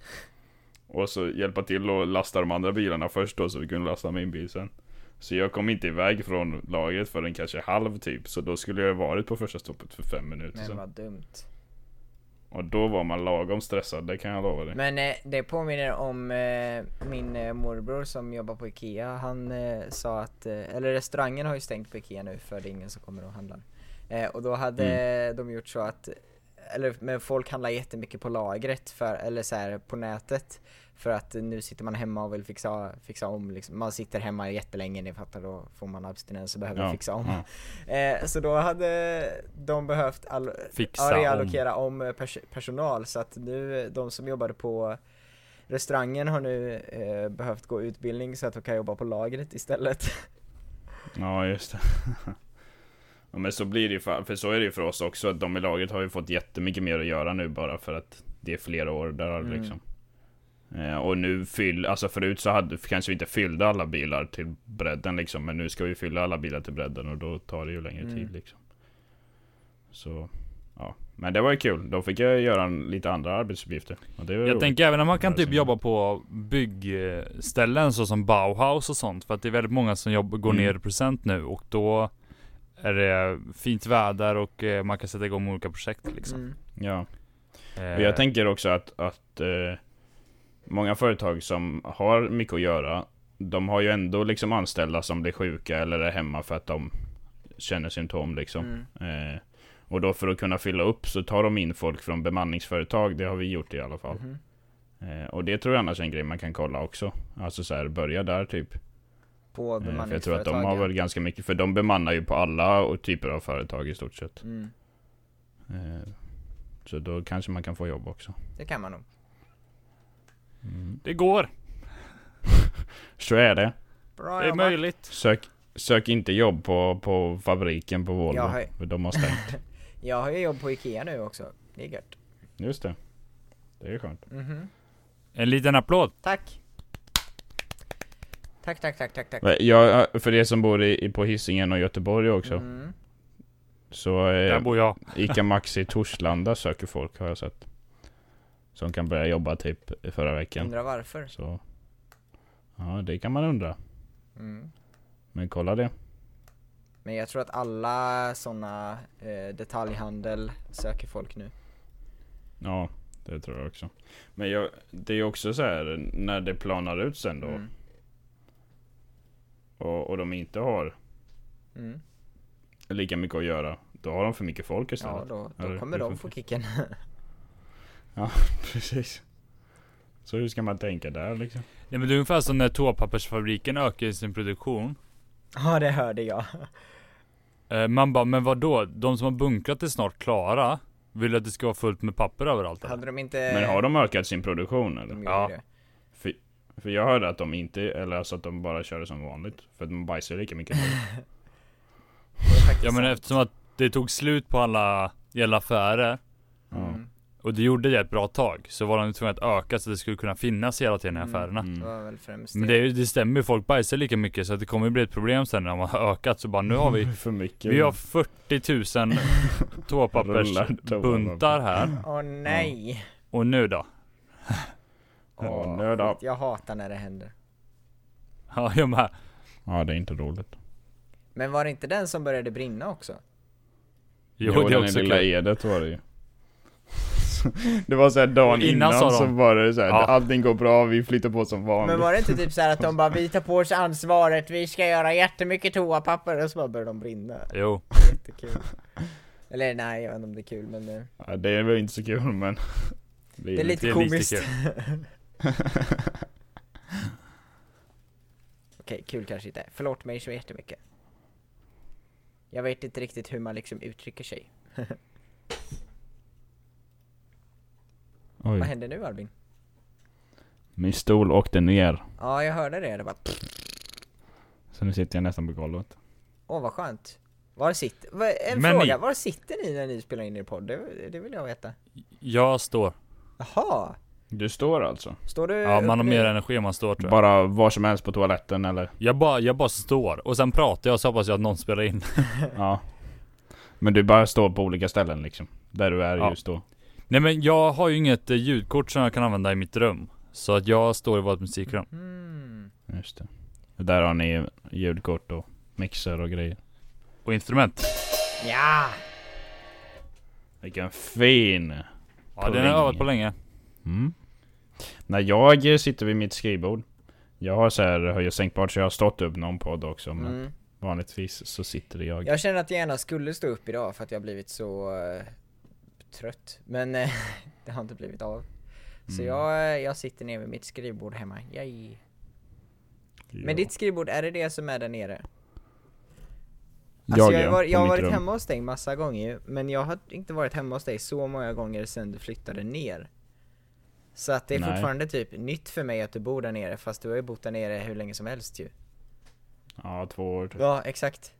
Och så hjälpa till och lasta de andra bilarna först då så vi kunde lasta min bil sen. Så jag kom inte iväg från lagret förrän kanske halv typ, så då skulle jag ju varit på första stoppet för fem minuter
Men
sen.
vad dumt.
Och då var man lagom stressad, det kan jag lova dig.
Men eh, det påminner om eh, min eh, morbror som jobbar på IKEA. Han eh, sa att, eh, eller restaurangen har ju stängt på IKEA nu för det är ingen som kommer och handlar. Eh, och då hade
Mm.
de gjort så att, eller men folk handlar jättemycket på lagret, för, eller så här på nätet. För att eh, nu sitter man hemma och vill fixa, fixa om liksom. Man sitter hemma jättelänge, ni fattar, då får man abstinens och behöver
Ja,
fixa om. Eh, så då hade de behövt all-
Fixa
ja,
om.
reallokera om, eh, pers- personal så att nu eh, de som jobbade på restaurangen har nu eh, behövt gå utbildning så att de kan jobba på lagret istället.
Ja, just det. ja, men så blir det ju, för, för så är det ju för oss också. Att de i laget har ju fått jättemycket mer att göra nu bara för att det är flera år där
Mm.
liksom. Eh, och nu fyll, alltså förut så hade, kanske vi inte fyllde alla bilar till bredden liksom. Men nu ska vi fylla alla bilar till bredden och då tar det ju längre
Mm.
tid liksom. Så, ja. Men det var ju kul. Då fick jag göra en, lite andra arbetsuppgifter. Och det var
Jag
roligt.
tänker även om man kan
Ja, det
typ
ser
jobba på byggställen eh, så som Bauhaus och sånt. För att det är väldigt många som jobb, går
Mm.
ner i procent nu och då är det fint väder och eh, man kan sätta igång olika projekt liksom.
Mm.
Ja.
Eh,
Och jag tänker också att, att eh, många företag som har mycket att göra, de har ju ändå liksom anställda som blir sjuka eller är hemma för att de känner symptom liksom.
Mm.
Eh, och då för att kunna fylla upp så tar de in folk från bemanningsföretag, det har vi gjort i alla fall.
Mhm.
Eh, och det tror jag annars är en grej man kan kolla också. Alltså så här, börja där typ.
På
Eh,
bemanningsföretagen.
för jag tror att de har väl ganska mycket, för de bemannar ju på alla och typer av företag i stort sett.
mm.
Eh, så då kanske man kan få jobb också.
Det kan man nog.
Det går.
Så är det.
Bra
Det är
jobbat.
möjligt.
Sök, sök inte jobb på, på fabriken på Volvo.
Jag har-
För de har stängt.
Jag har ju jobb på IKEA nu också. Det är gött.
Just det. Det är skönt.
Mhm.
En liten applåd.
Tack! Tack, tack, tack, tack, tack.
Jag, för er som bor i, i- på Hisingen och Göteborg också.
Mm.
Så
Där
eh,
bor jag.
Ica Maxi Torslanda söker folk har jag sett. Som kan börja jobba typ förra veckan.
Undrar varför.
Så. Ja, det kan man undra.
Mm.
Men kolla det.
Men jag tror att alla såna eh, detaljhandel söker folk nu.
Ja, det tror jag också. Men jag, det är ju också så här när det planar ut sen då.
Mm.
Och, och de inte har
Mm.
lika mycket att göra. Då har de för mycket folk istället.
Ja, då, då
Eller
kommer
hur
de få
funkar
kicken.
Precis. Så hur ska man tänka där liksom?
Nej men det är ungefär som när toapappersfabriken ökar sin produktion.
ja, det hörde jag.
Eh, man bara, men vadå? De som har bunkrat är snart klara. Vill att det ska vara fullt med papper överallt? eller?
Hade de inte...
Men har de ökat sin produktion
de
eller?
gjorde
Ja.
det.
För, för jag hörde att de inte, eller alltså att de bara körde som vanligt. För att de bajsar lika mycket.
Det är faktiskt
Ja men
sant.
eftersom att det tog slut på alla, i alla affärer.
Mm.
Och det gjorde det ett bra tag. Så var de tvungna att öka så det skulle kunna finnas hela tiden i
Mm.
affärerna.
Det
Mm.
var väl främst
Men det, är ju- det stämmer ju, folk bajsar lika mycket så att det kommer ju bli ett problem sen när de har ökat. Så bara nu har vi,
för mycket.
vi har 40 000
Rullar
toapappersbuntar
toapapper.
här.
Åh nej!
Och nu då?
Ja,
Åh,
nörd
skit.
up.
jag hatar när det händer.
Ja jag med.
Ja, det är inte roligt.
Men var det inte den som började brinna också?
Jo, det är också
lilla
kul.
Edet var det ju. Det var såhär dagen
Innan
innan,
sa de.
så var det såhär,
Ja.
allting går bra, vi flyttar på som vanligt.
Men var det inte typ så här att de bara vi tar på oss ansvaret, vi ska göra jättemycket toapapper och så bara började de brinna.
Jo.
Jättekul. Eller nej, jag vet inte om det är kul men eh,
ja, det är väl inte så kul men...
det är lite
det är lite
komiskt.
kul.
Okej, kul kanske inte. Förlåt mig så jättemycket. Jag vet inte riktigt hur man liksom uttrycker sig.
Mm.
Vad
Oj,
hände nu Albin?
min stol åkte ner.
Ja, jag hörde det. Det bara...
Så nu sitter jag nästan på golvet.
Åh vad skönt. Var sitter, va- en
Men
fråga,
ni-
var sitter ni när ni spelar in er podd? Det, det vill jag veta.
Jag står.
Jaha,
Du står alltså?
står du
Ja, man
upp
har
nu?
mer energi om man står tror jag.
Bara var som helst på toaletten eller?
Jag bara, jag bara står. Och sen pratar jag så hoppas jag att någon spelar in.
Ja. Men du bara står på olika ställen liksom. Där du är
Ja.
just då.
Nej men jag har ju inget eh, ljudkort som jag kan använda i mitt rum. Så att jag står i vårt musikrum.
Mm.
Just det. Där har ni ljudkort och mixer och grejer.
Och instrument.
Ja!
Vilken fin!
Ja, den har jag övat på länge.
Mm. När jag sitter vid mitt skrivbord. Jag har så här höj och sänkbart så jag har stått upp någon podd också. Men
Mm.
vanligtvis så sitter jag.
Jag känner att jag gärna skulle stå upp idag för att jag har blivit så eh, trött. Men eh, det har inte blivit av. Så
Mm.
jag, eh, jag sitter ner vid mitt skrivbord hemma. Yay. Men ditt skrivbord, är det det som är där nere? Alltså jag, har
ja,
var,
på
jag har
mitt
varit
rum.
hemma hos dig massa gånger ju, men jag har inte varit hemma hos dig så många gånger sedan du flyttade ner. Så att det är
Nej.
fortfarande typ nytt för mig att du bor där nere, fast du har ju bott där nere hur länge som helst ju.
Ja, två år. typ.
Ja, exakt.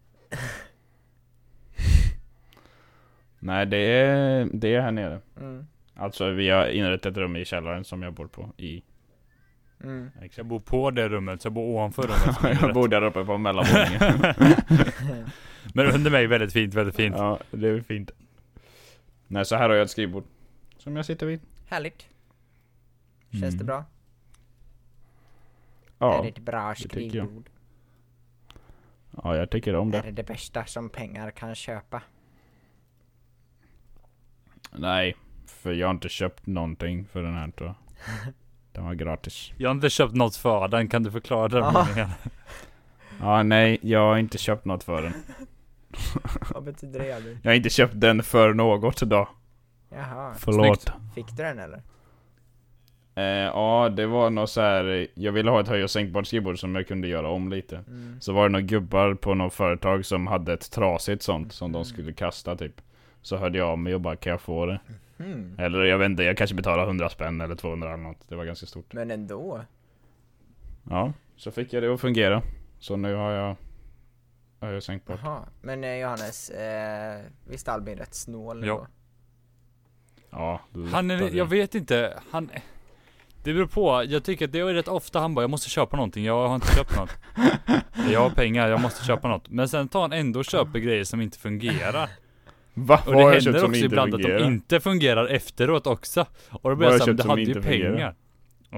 Nej, det är, det är här nere.
Mm.
Alltså vi har inrett ett rum i källaren som jag bor på i.
Mm.
Jag bor på det rummet, så jag bor ovanför rummet. som är
jag
rätt.
bor där uppe på mellanvåningen.
Men under mig väldigt fint, väldigt fint.
ja, det är fint. Nej, så här har jag ett skrivbord. Som jag sitter vid.
Härligt. Känns det
Mm.
bra? Är
Ja,
det ett bra
det tycker jag.
skrivbord?
ja jag tycker om
Är
det.
det det bästa som pengar kan köpa?
Nej, för jag har inte köpt någonting för den här tror jag. Den var gratis.
Jag har inte köpt något för den, kan du förklara den
Ah.
meningen?
Ja, nej, jag har inte köpt något för den.
Vad betyder det Albin?
Jag har inte köpt den för något då.
Jaha,
Förlåt.
Snyggt.
fick du den eller?
Eh, ja, det var något så här. Jag ville ha ett höj och sänkbart skrivbord som jag kunde göra om lite.
Mm.
Så var det några gubbar på något företag som hade ett trasigt sånt som de skulle kasta typ. Så hörde jag av mig och bara kan jag få det?
Mm.
Eller jag vet inte, jag kanske betalar 100 spänn eller 200 eller något. Det var ganska stort.
Men ändå.
Ja, så fick jag det att fungera. Så nu har jag har jag sänkt bort.
Jaha. Men eh, Johannes, eh, visst är Albin rätt snål nu
Ja.
då?
Ja,
Han är,
lättare.
jag vet inte, han... Det beror på, jag tycker att det är rätt ofta han bara, jag måste köpa någonting, jag har inte köpt något. Jag har pengar, jag måste köpa något. Men sen tar han ändå och köper grejer som inte fungerar.
Va?
Och
Vad har
det
jag köpt
händer
som
också
inte
ibland
fungerar?
att de inte fungerar efteråt också. Och då
Vad har
blir
jag
jag såhär,
köpt
du
som
hade ju
inte fungerar?"
pengar.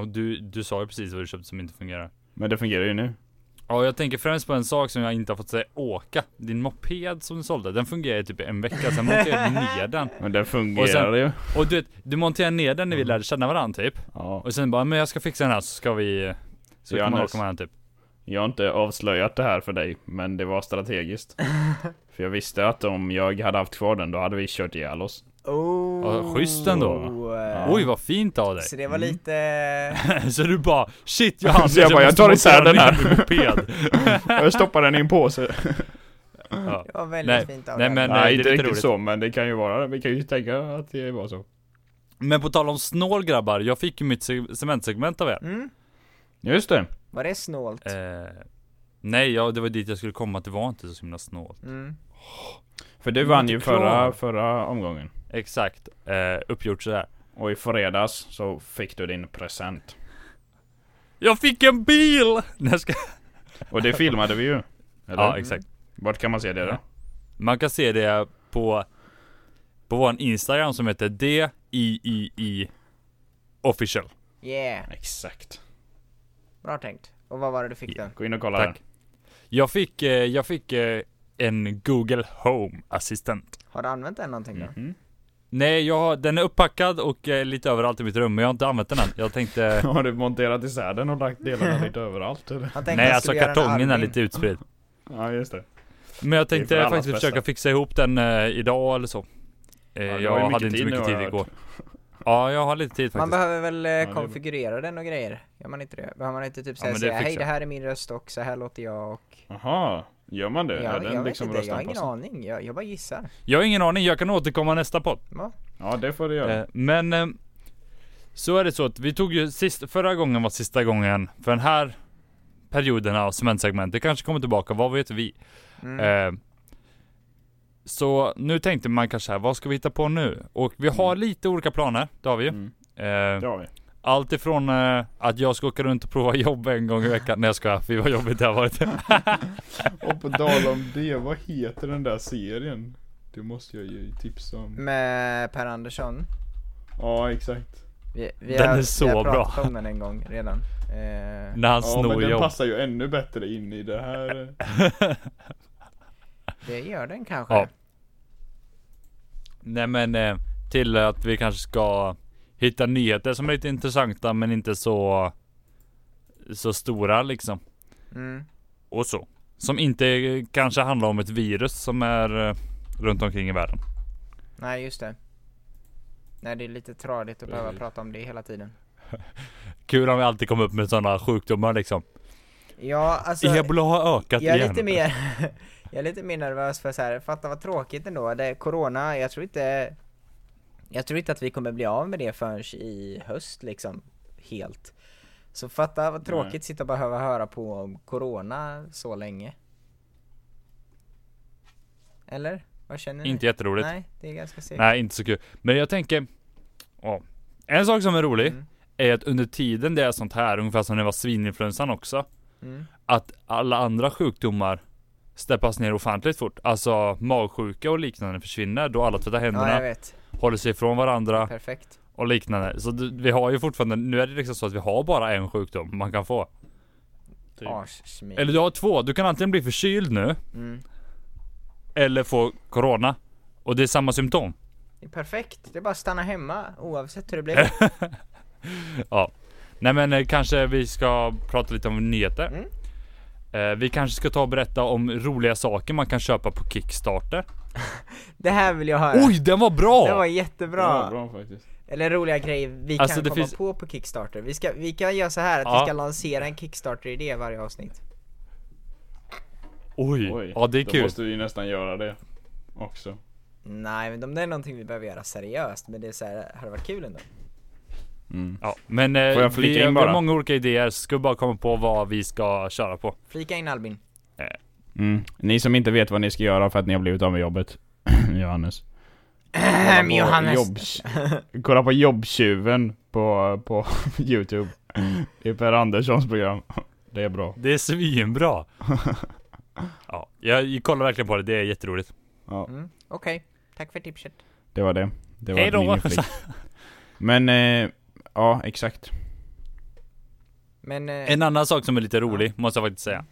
Och du, du sa ju precis vad du köpte som inte fungerar.
Men det fungerar ju nu.
Ja, jag tänker främst på en sak som jag inte har fått säga åka. Din moped som du sålde, den fungerar i typ en vecka, sen monterade du ner den.
Men det fungerar
Och sen-
ju.
Och du vet, du monterade ner den när vi
Mm.
lärde känna varandra typ.
Ja.
Och sen bara, men jag ska fixa den här så ska vi... Så kan man
Johannes.
åka med den typ.
Jag har inte avslöjat det här för dig, men det var strategiskt. för jag visste att om jag hade haft kvar den, då hade vi kört ihjäl oss.
Oh.
Ja, schysst ändå. Mm.
Eh,
Oj vad fint av dig!
Så det var lite...
Så du bara, shit Johannes,
Så jag bara, jag
måste
tar isär
montera
den här.
ner min moped.
Jag stoppade den i en påse.
Ja.
Det var väldigt
Nej,
fint av
nej,
dig.
men-
Nej,
det är
inte
lite
riktigt
roligt.
så, men det kan ju vara Vi kan ju tänka att det var så.
Men på tal om snål grabbar, jag fick ju mitt se- cementsegment av er.
Mm?
Just det.
Var det snålt?
Eh, nej, ja, det var dit jag skulle komma, det var inte så himla snålt.
Mm.
För du
Jag var
vann
inte
ju
klar.
förra, förra omgången.
Exakt, eh, uppgjort sådär.
Och i fredags så fick du din present.
Jag fick en bil! Nej, jag ska...
Och det filmade vi ju. Eller?
Ja, exakt.
Vart kan man se det då?
Man kan se det på, på vår Instagram som heter DIII official.
Yeah,
Exakt.
bra tänkt. Och vad var det du fick då?
Gå in och kolla
Tack.
här.
Jag fick, eh, jag fick eh, en Google Home assistent.
Har du använt den någonting
Mm.
då?
Mhm.
Nej, jag, har- den är upppackad och eh, lite överallt i mitt rum, men jag har inte använt den än. Jag tänkte...
Har du monterat isär den och lagt delarna lite överallt eller?
Han tänkte
Nej,
jag
alltså
skulle göra en
kartongen är
Albin.
lite utspridd.
Ja, just det.
Men jag
Det är
tänkte
för allas
faktiskt
bästa.
försöka fixa ihop den eh, idag eller så.
Ja,
Eh,
du har ju
jag
mycket
hade inte
tid
så mycket
nu, har
tid
jag
igår. Ja, jag har lite tid
Man
faktiskt.
behöver väl eh,
bra.
konfigurera den och grejer? Gör man inte det? Behöver man inte typ säga,
men det
säga hej
fixar
det här är min röst och så här låter jag och...
Jaha, gör man det?
Jag,
är
jag,
den
vet
liksom
inte, jag har ingen
röstanpassad?
aning. Jag, jag bara gissar.
Jag har ingen aning, jag kan återkomma nästa podd.
Va?
Ja, det får du göra.
Eh, men eh, så är det så att vi tog ju sist, förra gången var sista gången för den här perioderna av cementsegmentet kanske kommer tillbaka, vad vet vi?
Mm.
Eh, så nu tänkte man kanske här, vad ska vi hitta på nu? Och vi har lite olika planer, det har vi ju.
Mm.
Eh,
Det har vi.
Allt ifrån eh, att jag ska åka runt och prova jobb en gång i veckan. Nej jag skojar, fy vad jobbigt det har varit.
Och på tal om det, vad heter den där serien? Det måste jag ju tipsa om.
Med Per Andersson.
Ja, exakt.
Vi, vi
Den
har,
är så
vi har
bra.
pratat om den en gång redan. Eh,
När
Ja,
han snor
men den
jobb.
passar ju ännu bättre in i det här.
det gör den kanske.
Ja. Nej men eh, till att vi kanske ska hitta nyheter som är lite intressanta men inte så så stora liksom.
Mm.
Och så. Som inte eh, kanske handlar om ett virus som är eh, runt omkring i världen.
Nej, just det. Nej, det är lite tradigt att behöva
Precis.
prata om det hela tiden.
Kul om vi alltid kommer upp med sådana sjukdomar liksom.
Ja, alltså.
Ebola har ökat
jag är
igen.
lite mer, jag är lite mer nervös för så här, fatta vad tråkigt ändå. Det, corona, jag tror inte, jag tror inte att vi kommer bli av med det förrän i höst liksom, helt. Så fatta vad tråkigt
Nej.
sitta och behöva höra på om corona så länge. Eller? Vad känner ni?
Inte jätteroligt.
Nej, det är ganska segt.
Nej, inte så kul. Men jag tänker, ja. En sak som är rolig
Mm.
är att under tiden det är sånt här, ungefär som när det var svininfluensan också,
Mm.
att alla andra sjukdomar steppas ner ofantligt fort. Alltså magsjuka och liknande försvinner då alla tvättar
Ja, jag
händerna,
vet.
håller sig ifrån varandra
Perfekt.
och liknande. Så d- vi har ju fortfarande, nu är det liksom så att vi har bara en sjukdom man kan få. Typ.
Arschsmil.
Eller du har två, du kan antingen bli förkyld nu
Mm.
eller få corona. Och det är samma symptom.
Det är perfekt. Det är bara att stanna hemma oavsett hur det
Äh.
blir.
Nej men eh, kanske vi ska prata lite om nyheter.
Mm.
Eh, vi kanske ska ta och berätta om roliga saker man kan köpa på Kickstarter.
Det här vill jag höra.
Oj, den var bra!
Det var
Bra.
jättebra!
Ja, bra faktiskt.
Eller roliga grejer vi
Alltså,
kan
det
komma
finns-
på på Kickstarter. Vi, ska, vi kan göra så här att
Ja.
vi ska lansera en Kickstarter-idé i varje avsnitt.
Oj.
Oj.
ja det är
Då
kul.
måste vi ju nästan göra det också.
Nej men om det är någonting vi behöver göra seriöst, men det är så här, hade varit kul ändå.
Mm.
Ja, men eh,
Får jag
vi,
flika
vi
in bara?
har många olika idéer, så ska vi bara komma på vad vi ska köra på.
Flika in Albin.
Mm. Ni som inte vet vad ni ska göra för att ni har blivit av med jobbet. Johannes.
Ehm, Johannes.
Jobbs... Äh, Kolla på jobbtjuven på, på Youtube. Det är Per Anderssons program. Det är bra.
Det är svinbra! ja, jag kollar verkligen på det, det är jätteroligt.
Ja,
Mm, Okej, tack för tipset.
det var det. Det var
Hej då.
min inflik. Men, eh, ja exakt.
Men, eh,
En annan sak som är lite rolig, måste jag faktiskt säga.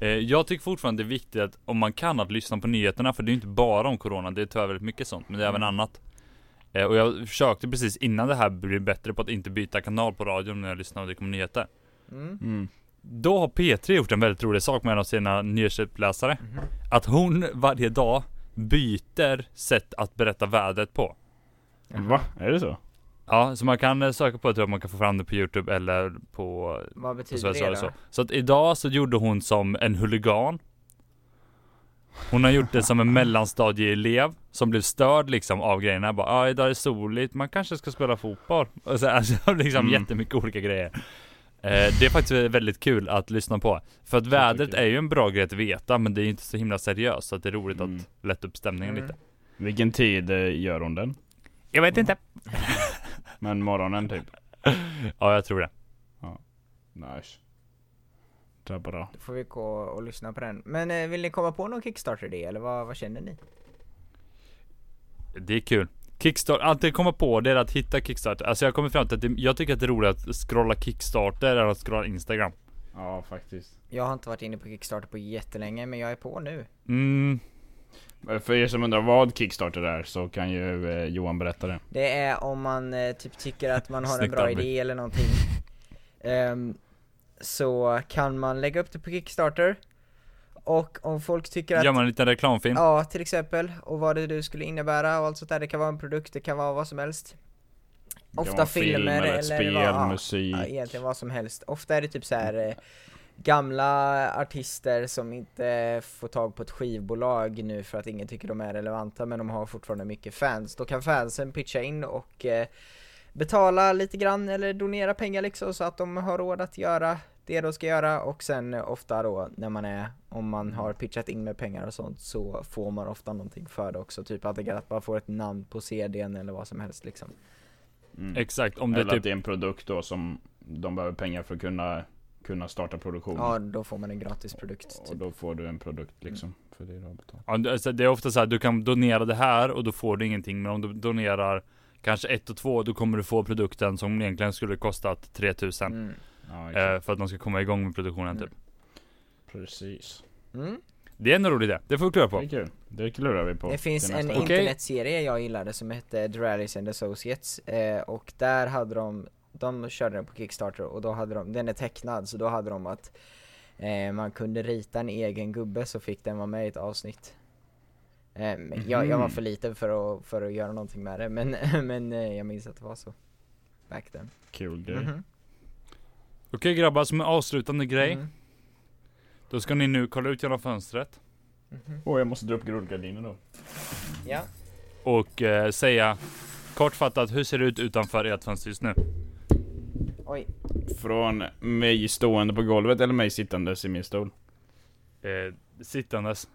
Eh, jag tycker fortfarande det är viktigt att, om man kan, att lyssna på nyheterna, för det är ju inte bara om Corona, det är tyvärr väldigt mycket sånt, men det är
Mm.
även annat. Eh, och jag försökte precis innan det här bli bättre på att inte byta kanal på radion när jag lyssnar och det kommer nyheter.
mm,
Mm.
Då har P3 gjort en väldigt rolig sak med en av sina nyhetsuppläsare.
mhm.
Att hon varje dag byter sätt att berätta vädret på.
Va? Är det så?
Ja, så man kan eh, söka på det, tror jag man kan få fram det på Youtube eller på
vad
på
betyder
Sveriges
det då?
Radio. Så. så att idag så gjorde hon som en huligan. Hon har gjort det som en mellanstadieelev som blev störd liksom av grejerna. Bara, ah, idag är det soligt, man kanske ska spela fotboll. Och så, alltså, liksom
Mm.
jättemycket olika grejer. Eh, det är faktiskt väldigt kul att lyssna på. För att vädret
tycker
är ju en bra grej att veta, men det är inte så himla seriöst. Så att det är roligt
Mm.
att lätta upp stämningen
Mm.
lite.
Vilken tid eh, gör hon den?
Jag vet inte.
Men morgonen typ?
Ja, jag tror det.
Nice. Det är bra.
Då får vi gå och lyssna på den. Men eh, vill ni komma på någon Kickstarter-idé eller vad, vad känner ni?
Det är kul. Kickstarter, allt jag kommer på det är att hitta Kickstarter. Alltså jag kommer fram till att det, jag tycker att det är roligt att scrolla Kickstarter än att scrolla Instagram.
Ja, faktiskt.
Jag har inte varit inne på Kickstarter på jättelänge, men jag är på nu.
Mm,
Men Eh, För er som undrar vad Kickstarter är så kan ju eh, Johan berätta det.
Det är om man eh, typ tycker att man har en
Snyggt,
bra
Albin.
idé eller någonting Ehm, Så kan man lägga upp det på Kickstarter Och om folk tycker att
gör man en liten reklamfilm.
Ja, till exempel, och vad det du skulle innebära och allt sånt där, det kan vara en produkt, det kan vara vad som helst
Det kan
Ofta
vara film
filmer
eller ett
eller
spel,
vad- ja.
musik.
Ja, egentligen vad som helst. Ofta är det typ så här eh, gamla artister som inte får tag på ett skivbolag nu för att ingen tycker de är relevanta men de har fortfarande mycket fans. Då kan fansen pitcha in och eh, betala lite grann eller donera pengar liksom så att de har råd att göra det de ska göra och sen eh, ofta då när man är, om man har pitchat in med pengar och sånt så får man ofta någonting för det också. Typ att det kan- att man får ett namn på CDn eller vad som helst liksom.
Mm.
Exakt, om det
Eller att
typ...
det är en produkt då som de behöver pengar för att kunna, kunna starta produktion.
Ja, då får man en gratis produkt.
och
Typ. Mm.
då får du en produkt liksom. För det du har betalt.
Ja, det- alltså, det är ofta så här, du kan donera det här och då får du ingenting. Men om du donerar kanske ett och två, då kommer du få produkten som egentligen skulle kostat 3000.
Mm.
Ja, exakt.
Eh, för att de ska komma igång med produktionen typ.
Precis.
Mm.
Det är en rolig idé, det får vi klura
Det
på.
är kul. Det klurar vi på.
Det finns
till
en
nästa år.
Okej.
internetserie jag gillade som hette Dralis and Associates eh, och där hade de, de körde den på Kickstarter och då hade de, den är tecknad så då hade de att eh, man kunde rita en egen gubbe så fick den vara med i ett avsnitt. Eh, men jag, jag var
Mhm.
för liten för att, för att göra någonting med det men, men eh, jag minns att det var så. Back then.
Kul grej.
Mhm.
Okej grabbar, som en avslutande grej.
Mm.
Då ska ni nu kolla ut genom fönstret.
Mhm.
Åh, jag måste dra upp rullgardinen då.
Ja.
Och eh, säga kortfattat, hur ser det ut utanför ert fönster just nu?
Oj.
Från mig stående på golvet eller mig sittandes i min stol.
Eh, sittandes.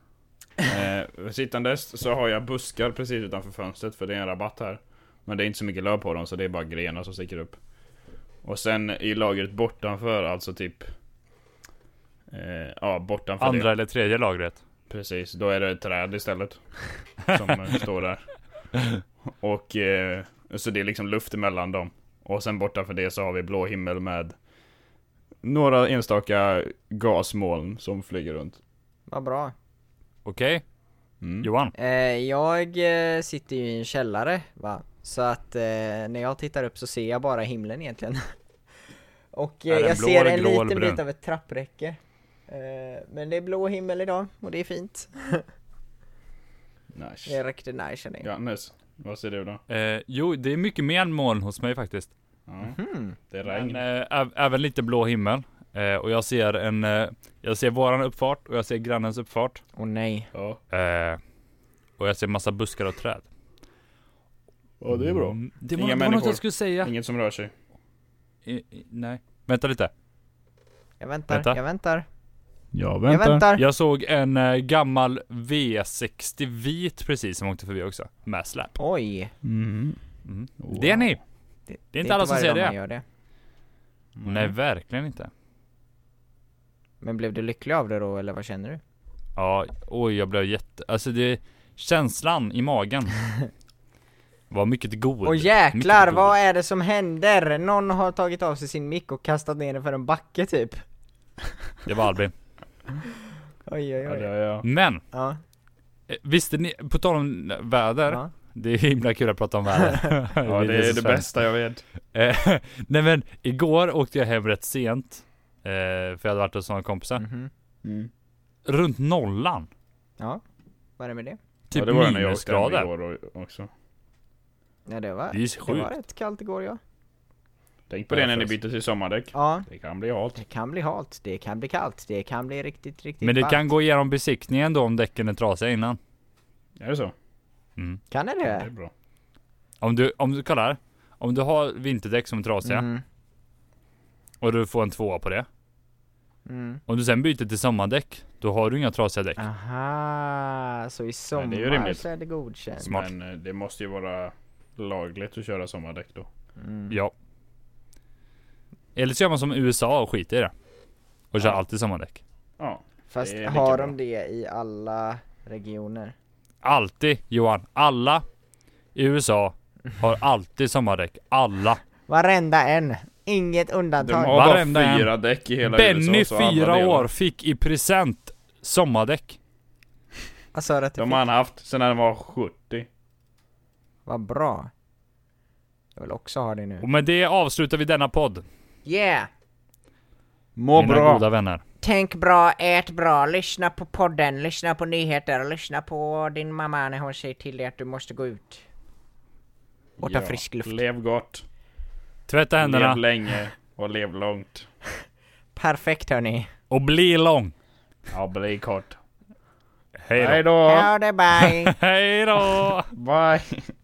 Eh, sittandes så har jag buskar precis utanför fönstret för det är en rabatt här. Men det är inte så mycket löv på dem så det är bara grenar som sticker upp. Och sen i lagret bortanför, alltså typ... Eh, ja, bortanför
Andra
det.
eller tredje lagret.
Precis, då är det ett träd istället. Som eh, står där. Och eh, så det är liksom luft emellan dem. Och sen bortanför det så har vi blå himmel med några enstaka gasmoln som flyger runt.
Vad bra.
Okej,
Mm.
Johan?
Eh, jag eh, sitter ju i en källare va, så att eh, när jag tittar upp så ser jag bara himlen egentligen. och eh,
Är den
jag
blå
ser
eller
en
grå eller
liten bit
brun?
av ett trappräcke. Eh, men det är blå himmel idag och det är fint.
Nice.
Det räckte när känner jag.
Johannes, vad säger du då?
Eh, jo, det är mycket mer moln hos mig faktiskt.
Ja,
Hmm.
det är regn.
Men, eh, äv- även lite blå himmel. Eh, och jag ser en, eh, jag ser våran uppfart och jag ser grannens uppfart.
Åh nej.
Ja.
Eh, och jag ser massa buskar och träd.
ja, det är bra.
Mm, Det
Inga
var, det var något
människor.
jag skulle säga.
Inget som rör sig.
I, i, nej. Vänta lite.
Jag väntar,
Vänta.
jag väntar.
Jag
Jag väntar.
Jag såg en eh, gammal V60 vit precis som åkte förbi också. Med släp.
Oj.
Mm. Det är ni!
Det,
inte alla som
varje
ser
dag
det.
man Gör det.
Nej, verkligen inte.
Men blev du lycklig av det då eller vad känner du?
Ja, oj jag blev jätte... Alltså det... Känslan i magen. var mycket god.
Åh jäklar,
god.
vad är det som händer? Någon har tagit av sig sin mick och kastat ner den för en backe typ.
Det var Albin.
Oj oj
Ja, det
oj.
är jag.
Men!
Ja.
eh, Visste ni, på tal om väder.
ja.
Det är himla kul att prata om väder.
Ja, det är det
så spännande.
bästa jag vet.
Eh, Nej men, igår åkte jag hem rätt sent. eh, För jag hade varit hos några kompisar.
Mhm.
Runt nollan.
Ja, vad är det med det?
Typ
ja, det var det när jag åkte hem
minusgrader.
igår och- också.
Ja det var,
Det är ju
det var
sjukt.
rätt kallt igår ja.
Tänk på det när ni
Därför.
byter till sommardäck.
Ja,
Det kan bli halt.
det kan bli halt, det kan bli kallt, det kan bli riktigt, riktigt
Men det
varmt.
kan gå igenom besiktningen då om däcken är trasiga innan.
Är det så?
Mm.
Kan det
Det är
det?
bra.
Om du, om du kollar. Om du har vinterdäck som är trasiga
Mm.
och du får en tvåa på det.
Mm.
Om du sen byter till sommardäck, då har du inga trasiga däck.
Aha, så i sommar
Men det är ju rimligt.
så är det godkänt.
Smart.
Men eh, det måste ju vara lagligt att köra sommardäck då.
Mm.
Ja. Eller så gör man som USA och skiter i det. Och kör
Ja.
alltid sommardäck.
Ja.
Fast
Det är
har
lika
de det i alla regioner?
Alltid Johan. Alla i USA har alltid sommardäck. Alla.
Varenda en! Inget
De
undantag.
har bara
Varenda
fyra däck i hela
Benny,
USA. så alla
fyra
delar.
år, fick i present sommardäck.
Alltså rätt
De har han haft sedan han var 70.
Vad bra. Jag vill också ha det nu.
Och med det avslutar vi denna podd.
Yeah!
Må
mina
bra!
goda vänner.
Tänk bra, ät bra, lyssna på podden, lyssna på nyheter, lyssna på din mamma när hon säger till dig att du måste gå ut. Och ta
Ja,
frisk luft.
Lev gott,
Tvätta händerna
lev länge och lev långt.
Perfekt hörni.
och bli lång.
Ja, bli kort.
Hej
Hej
då.
då!
Ha det bye!
Hej då.
Bye!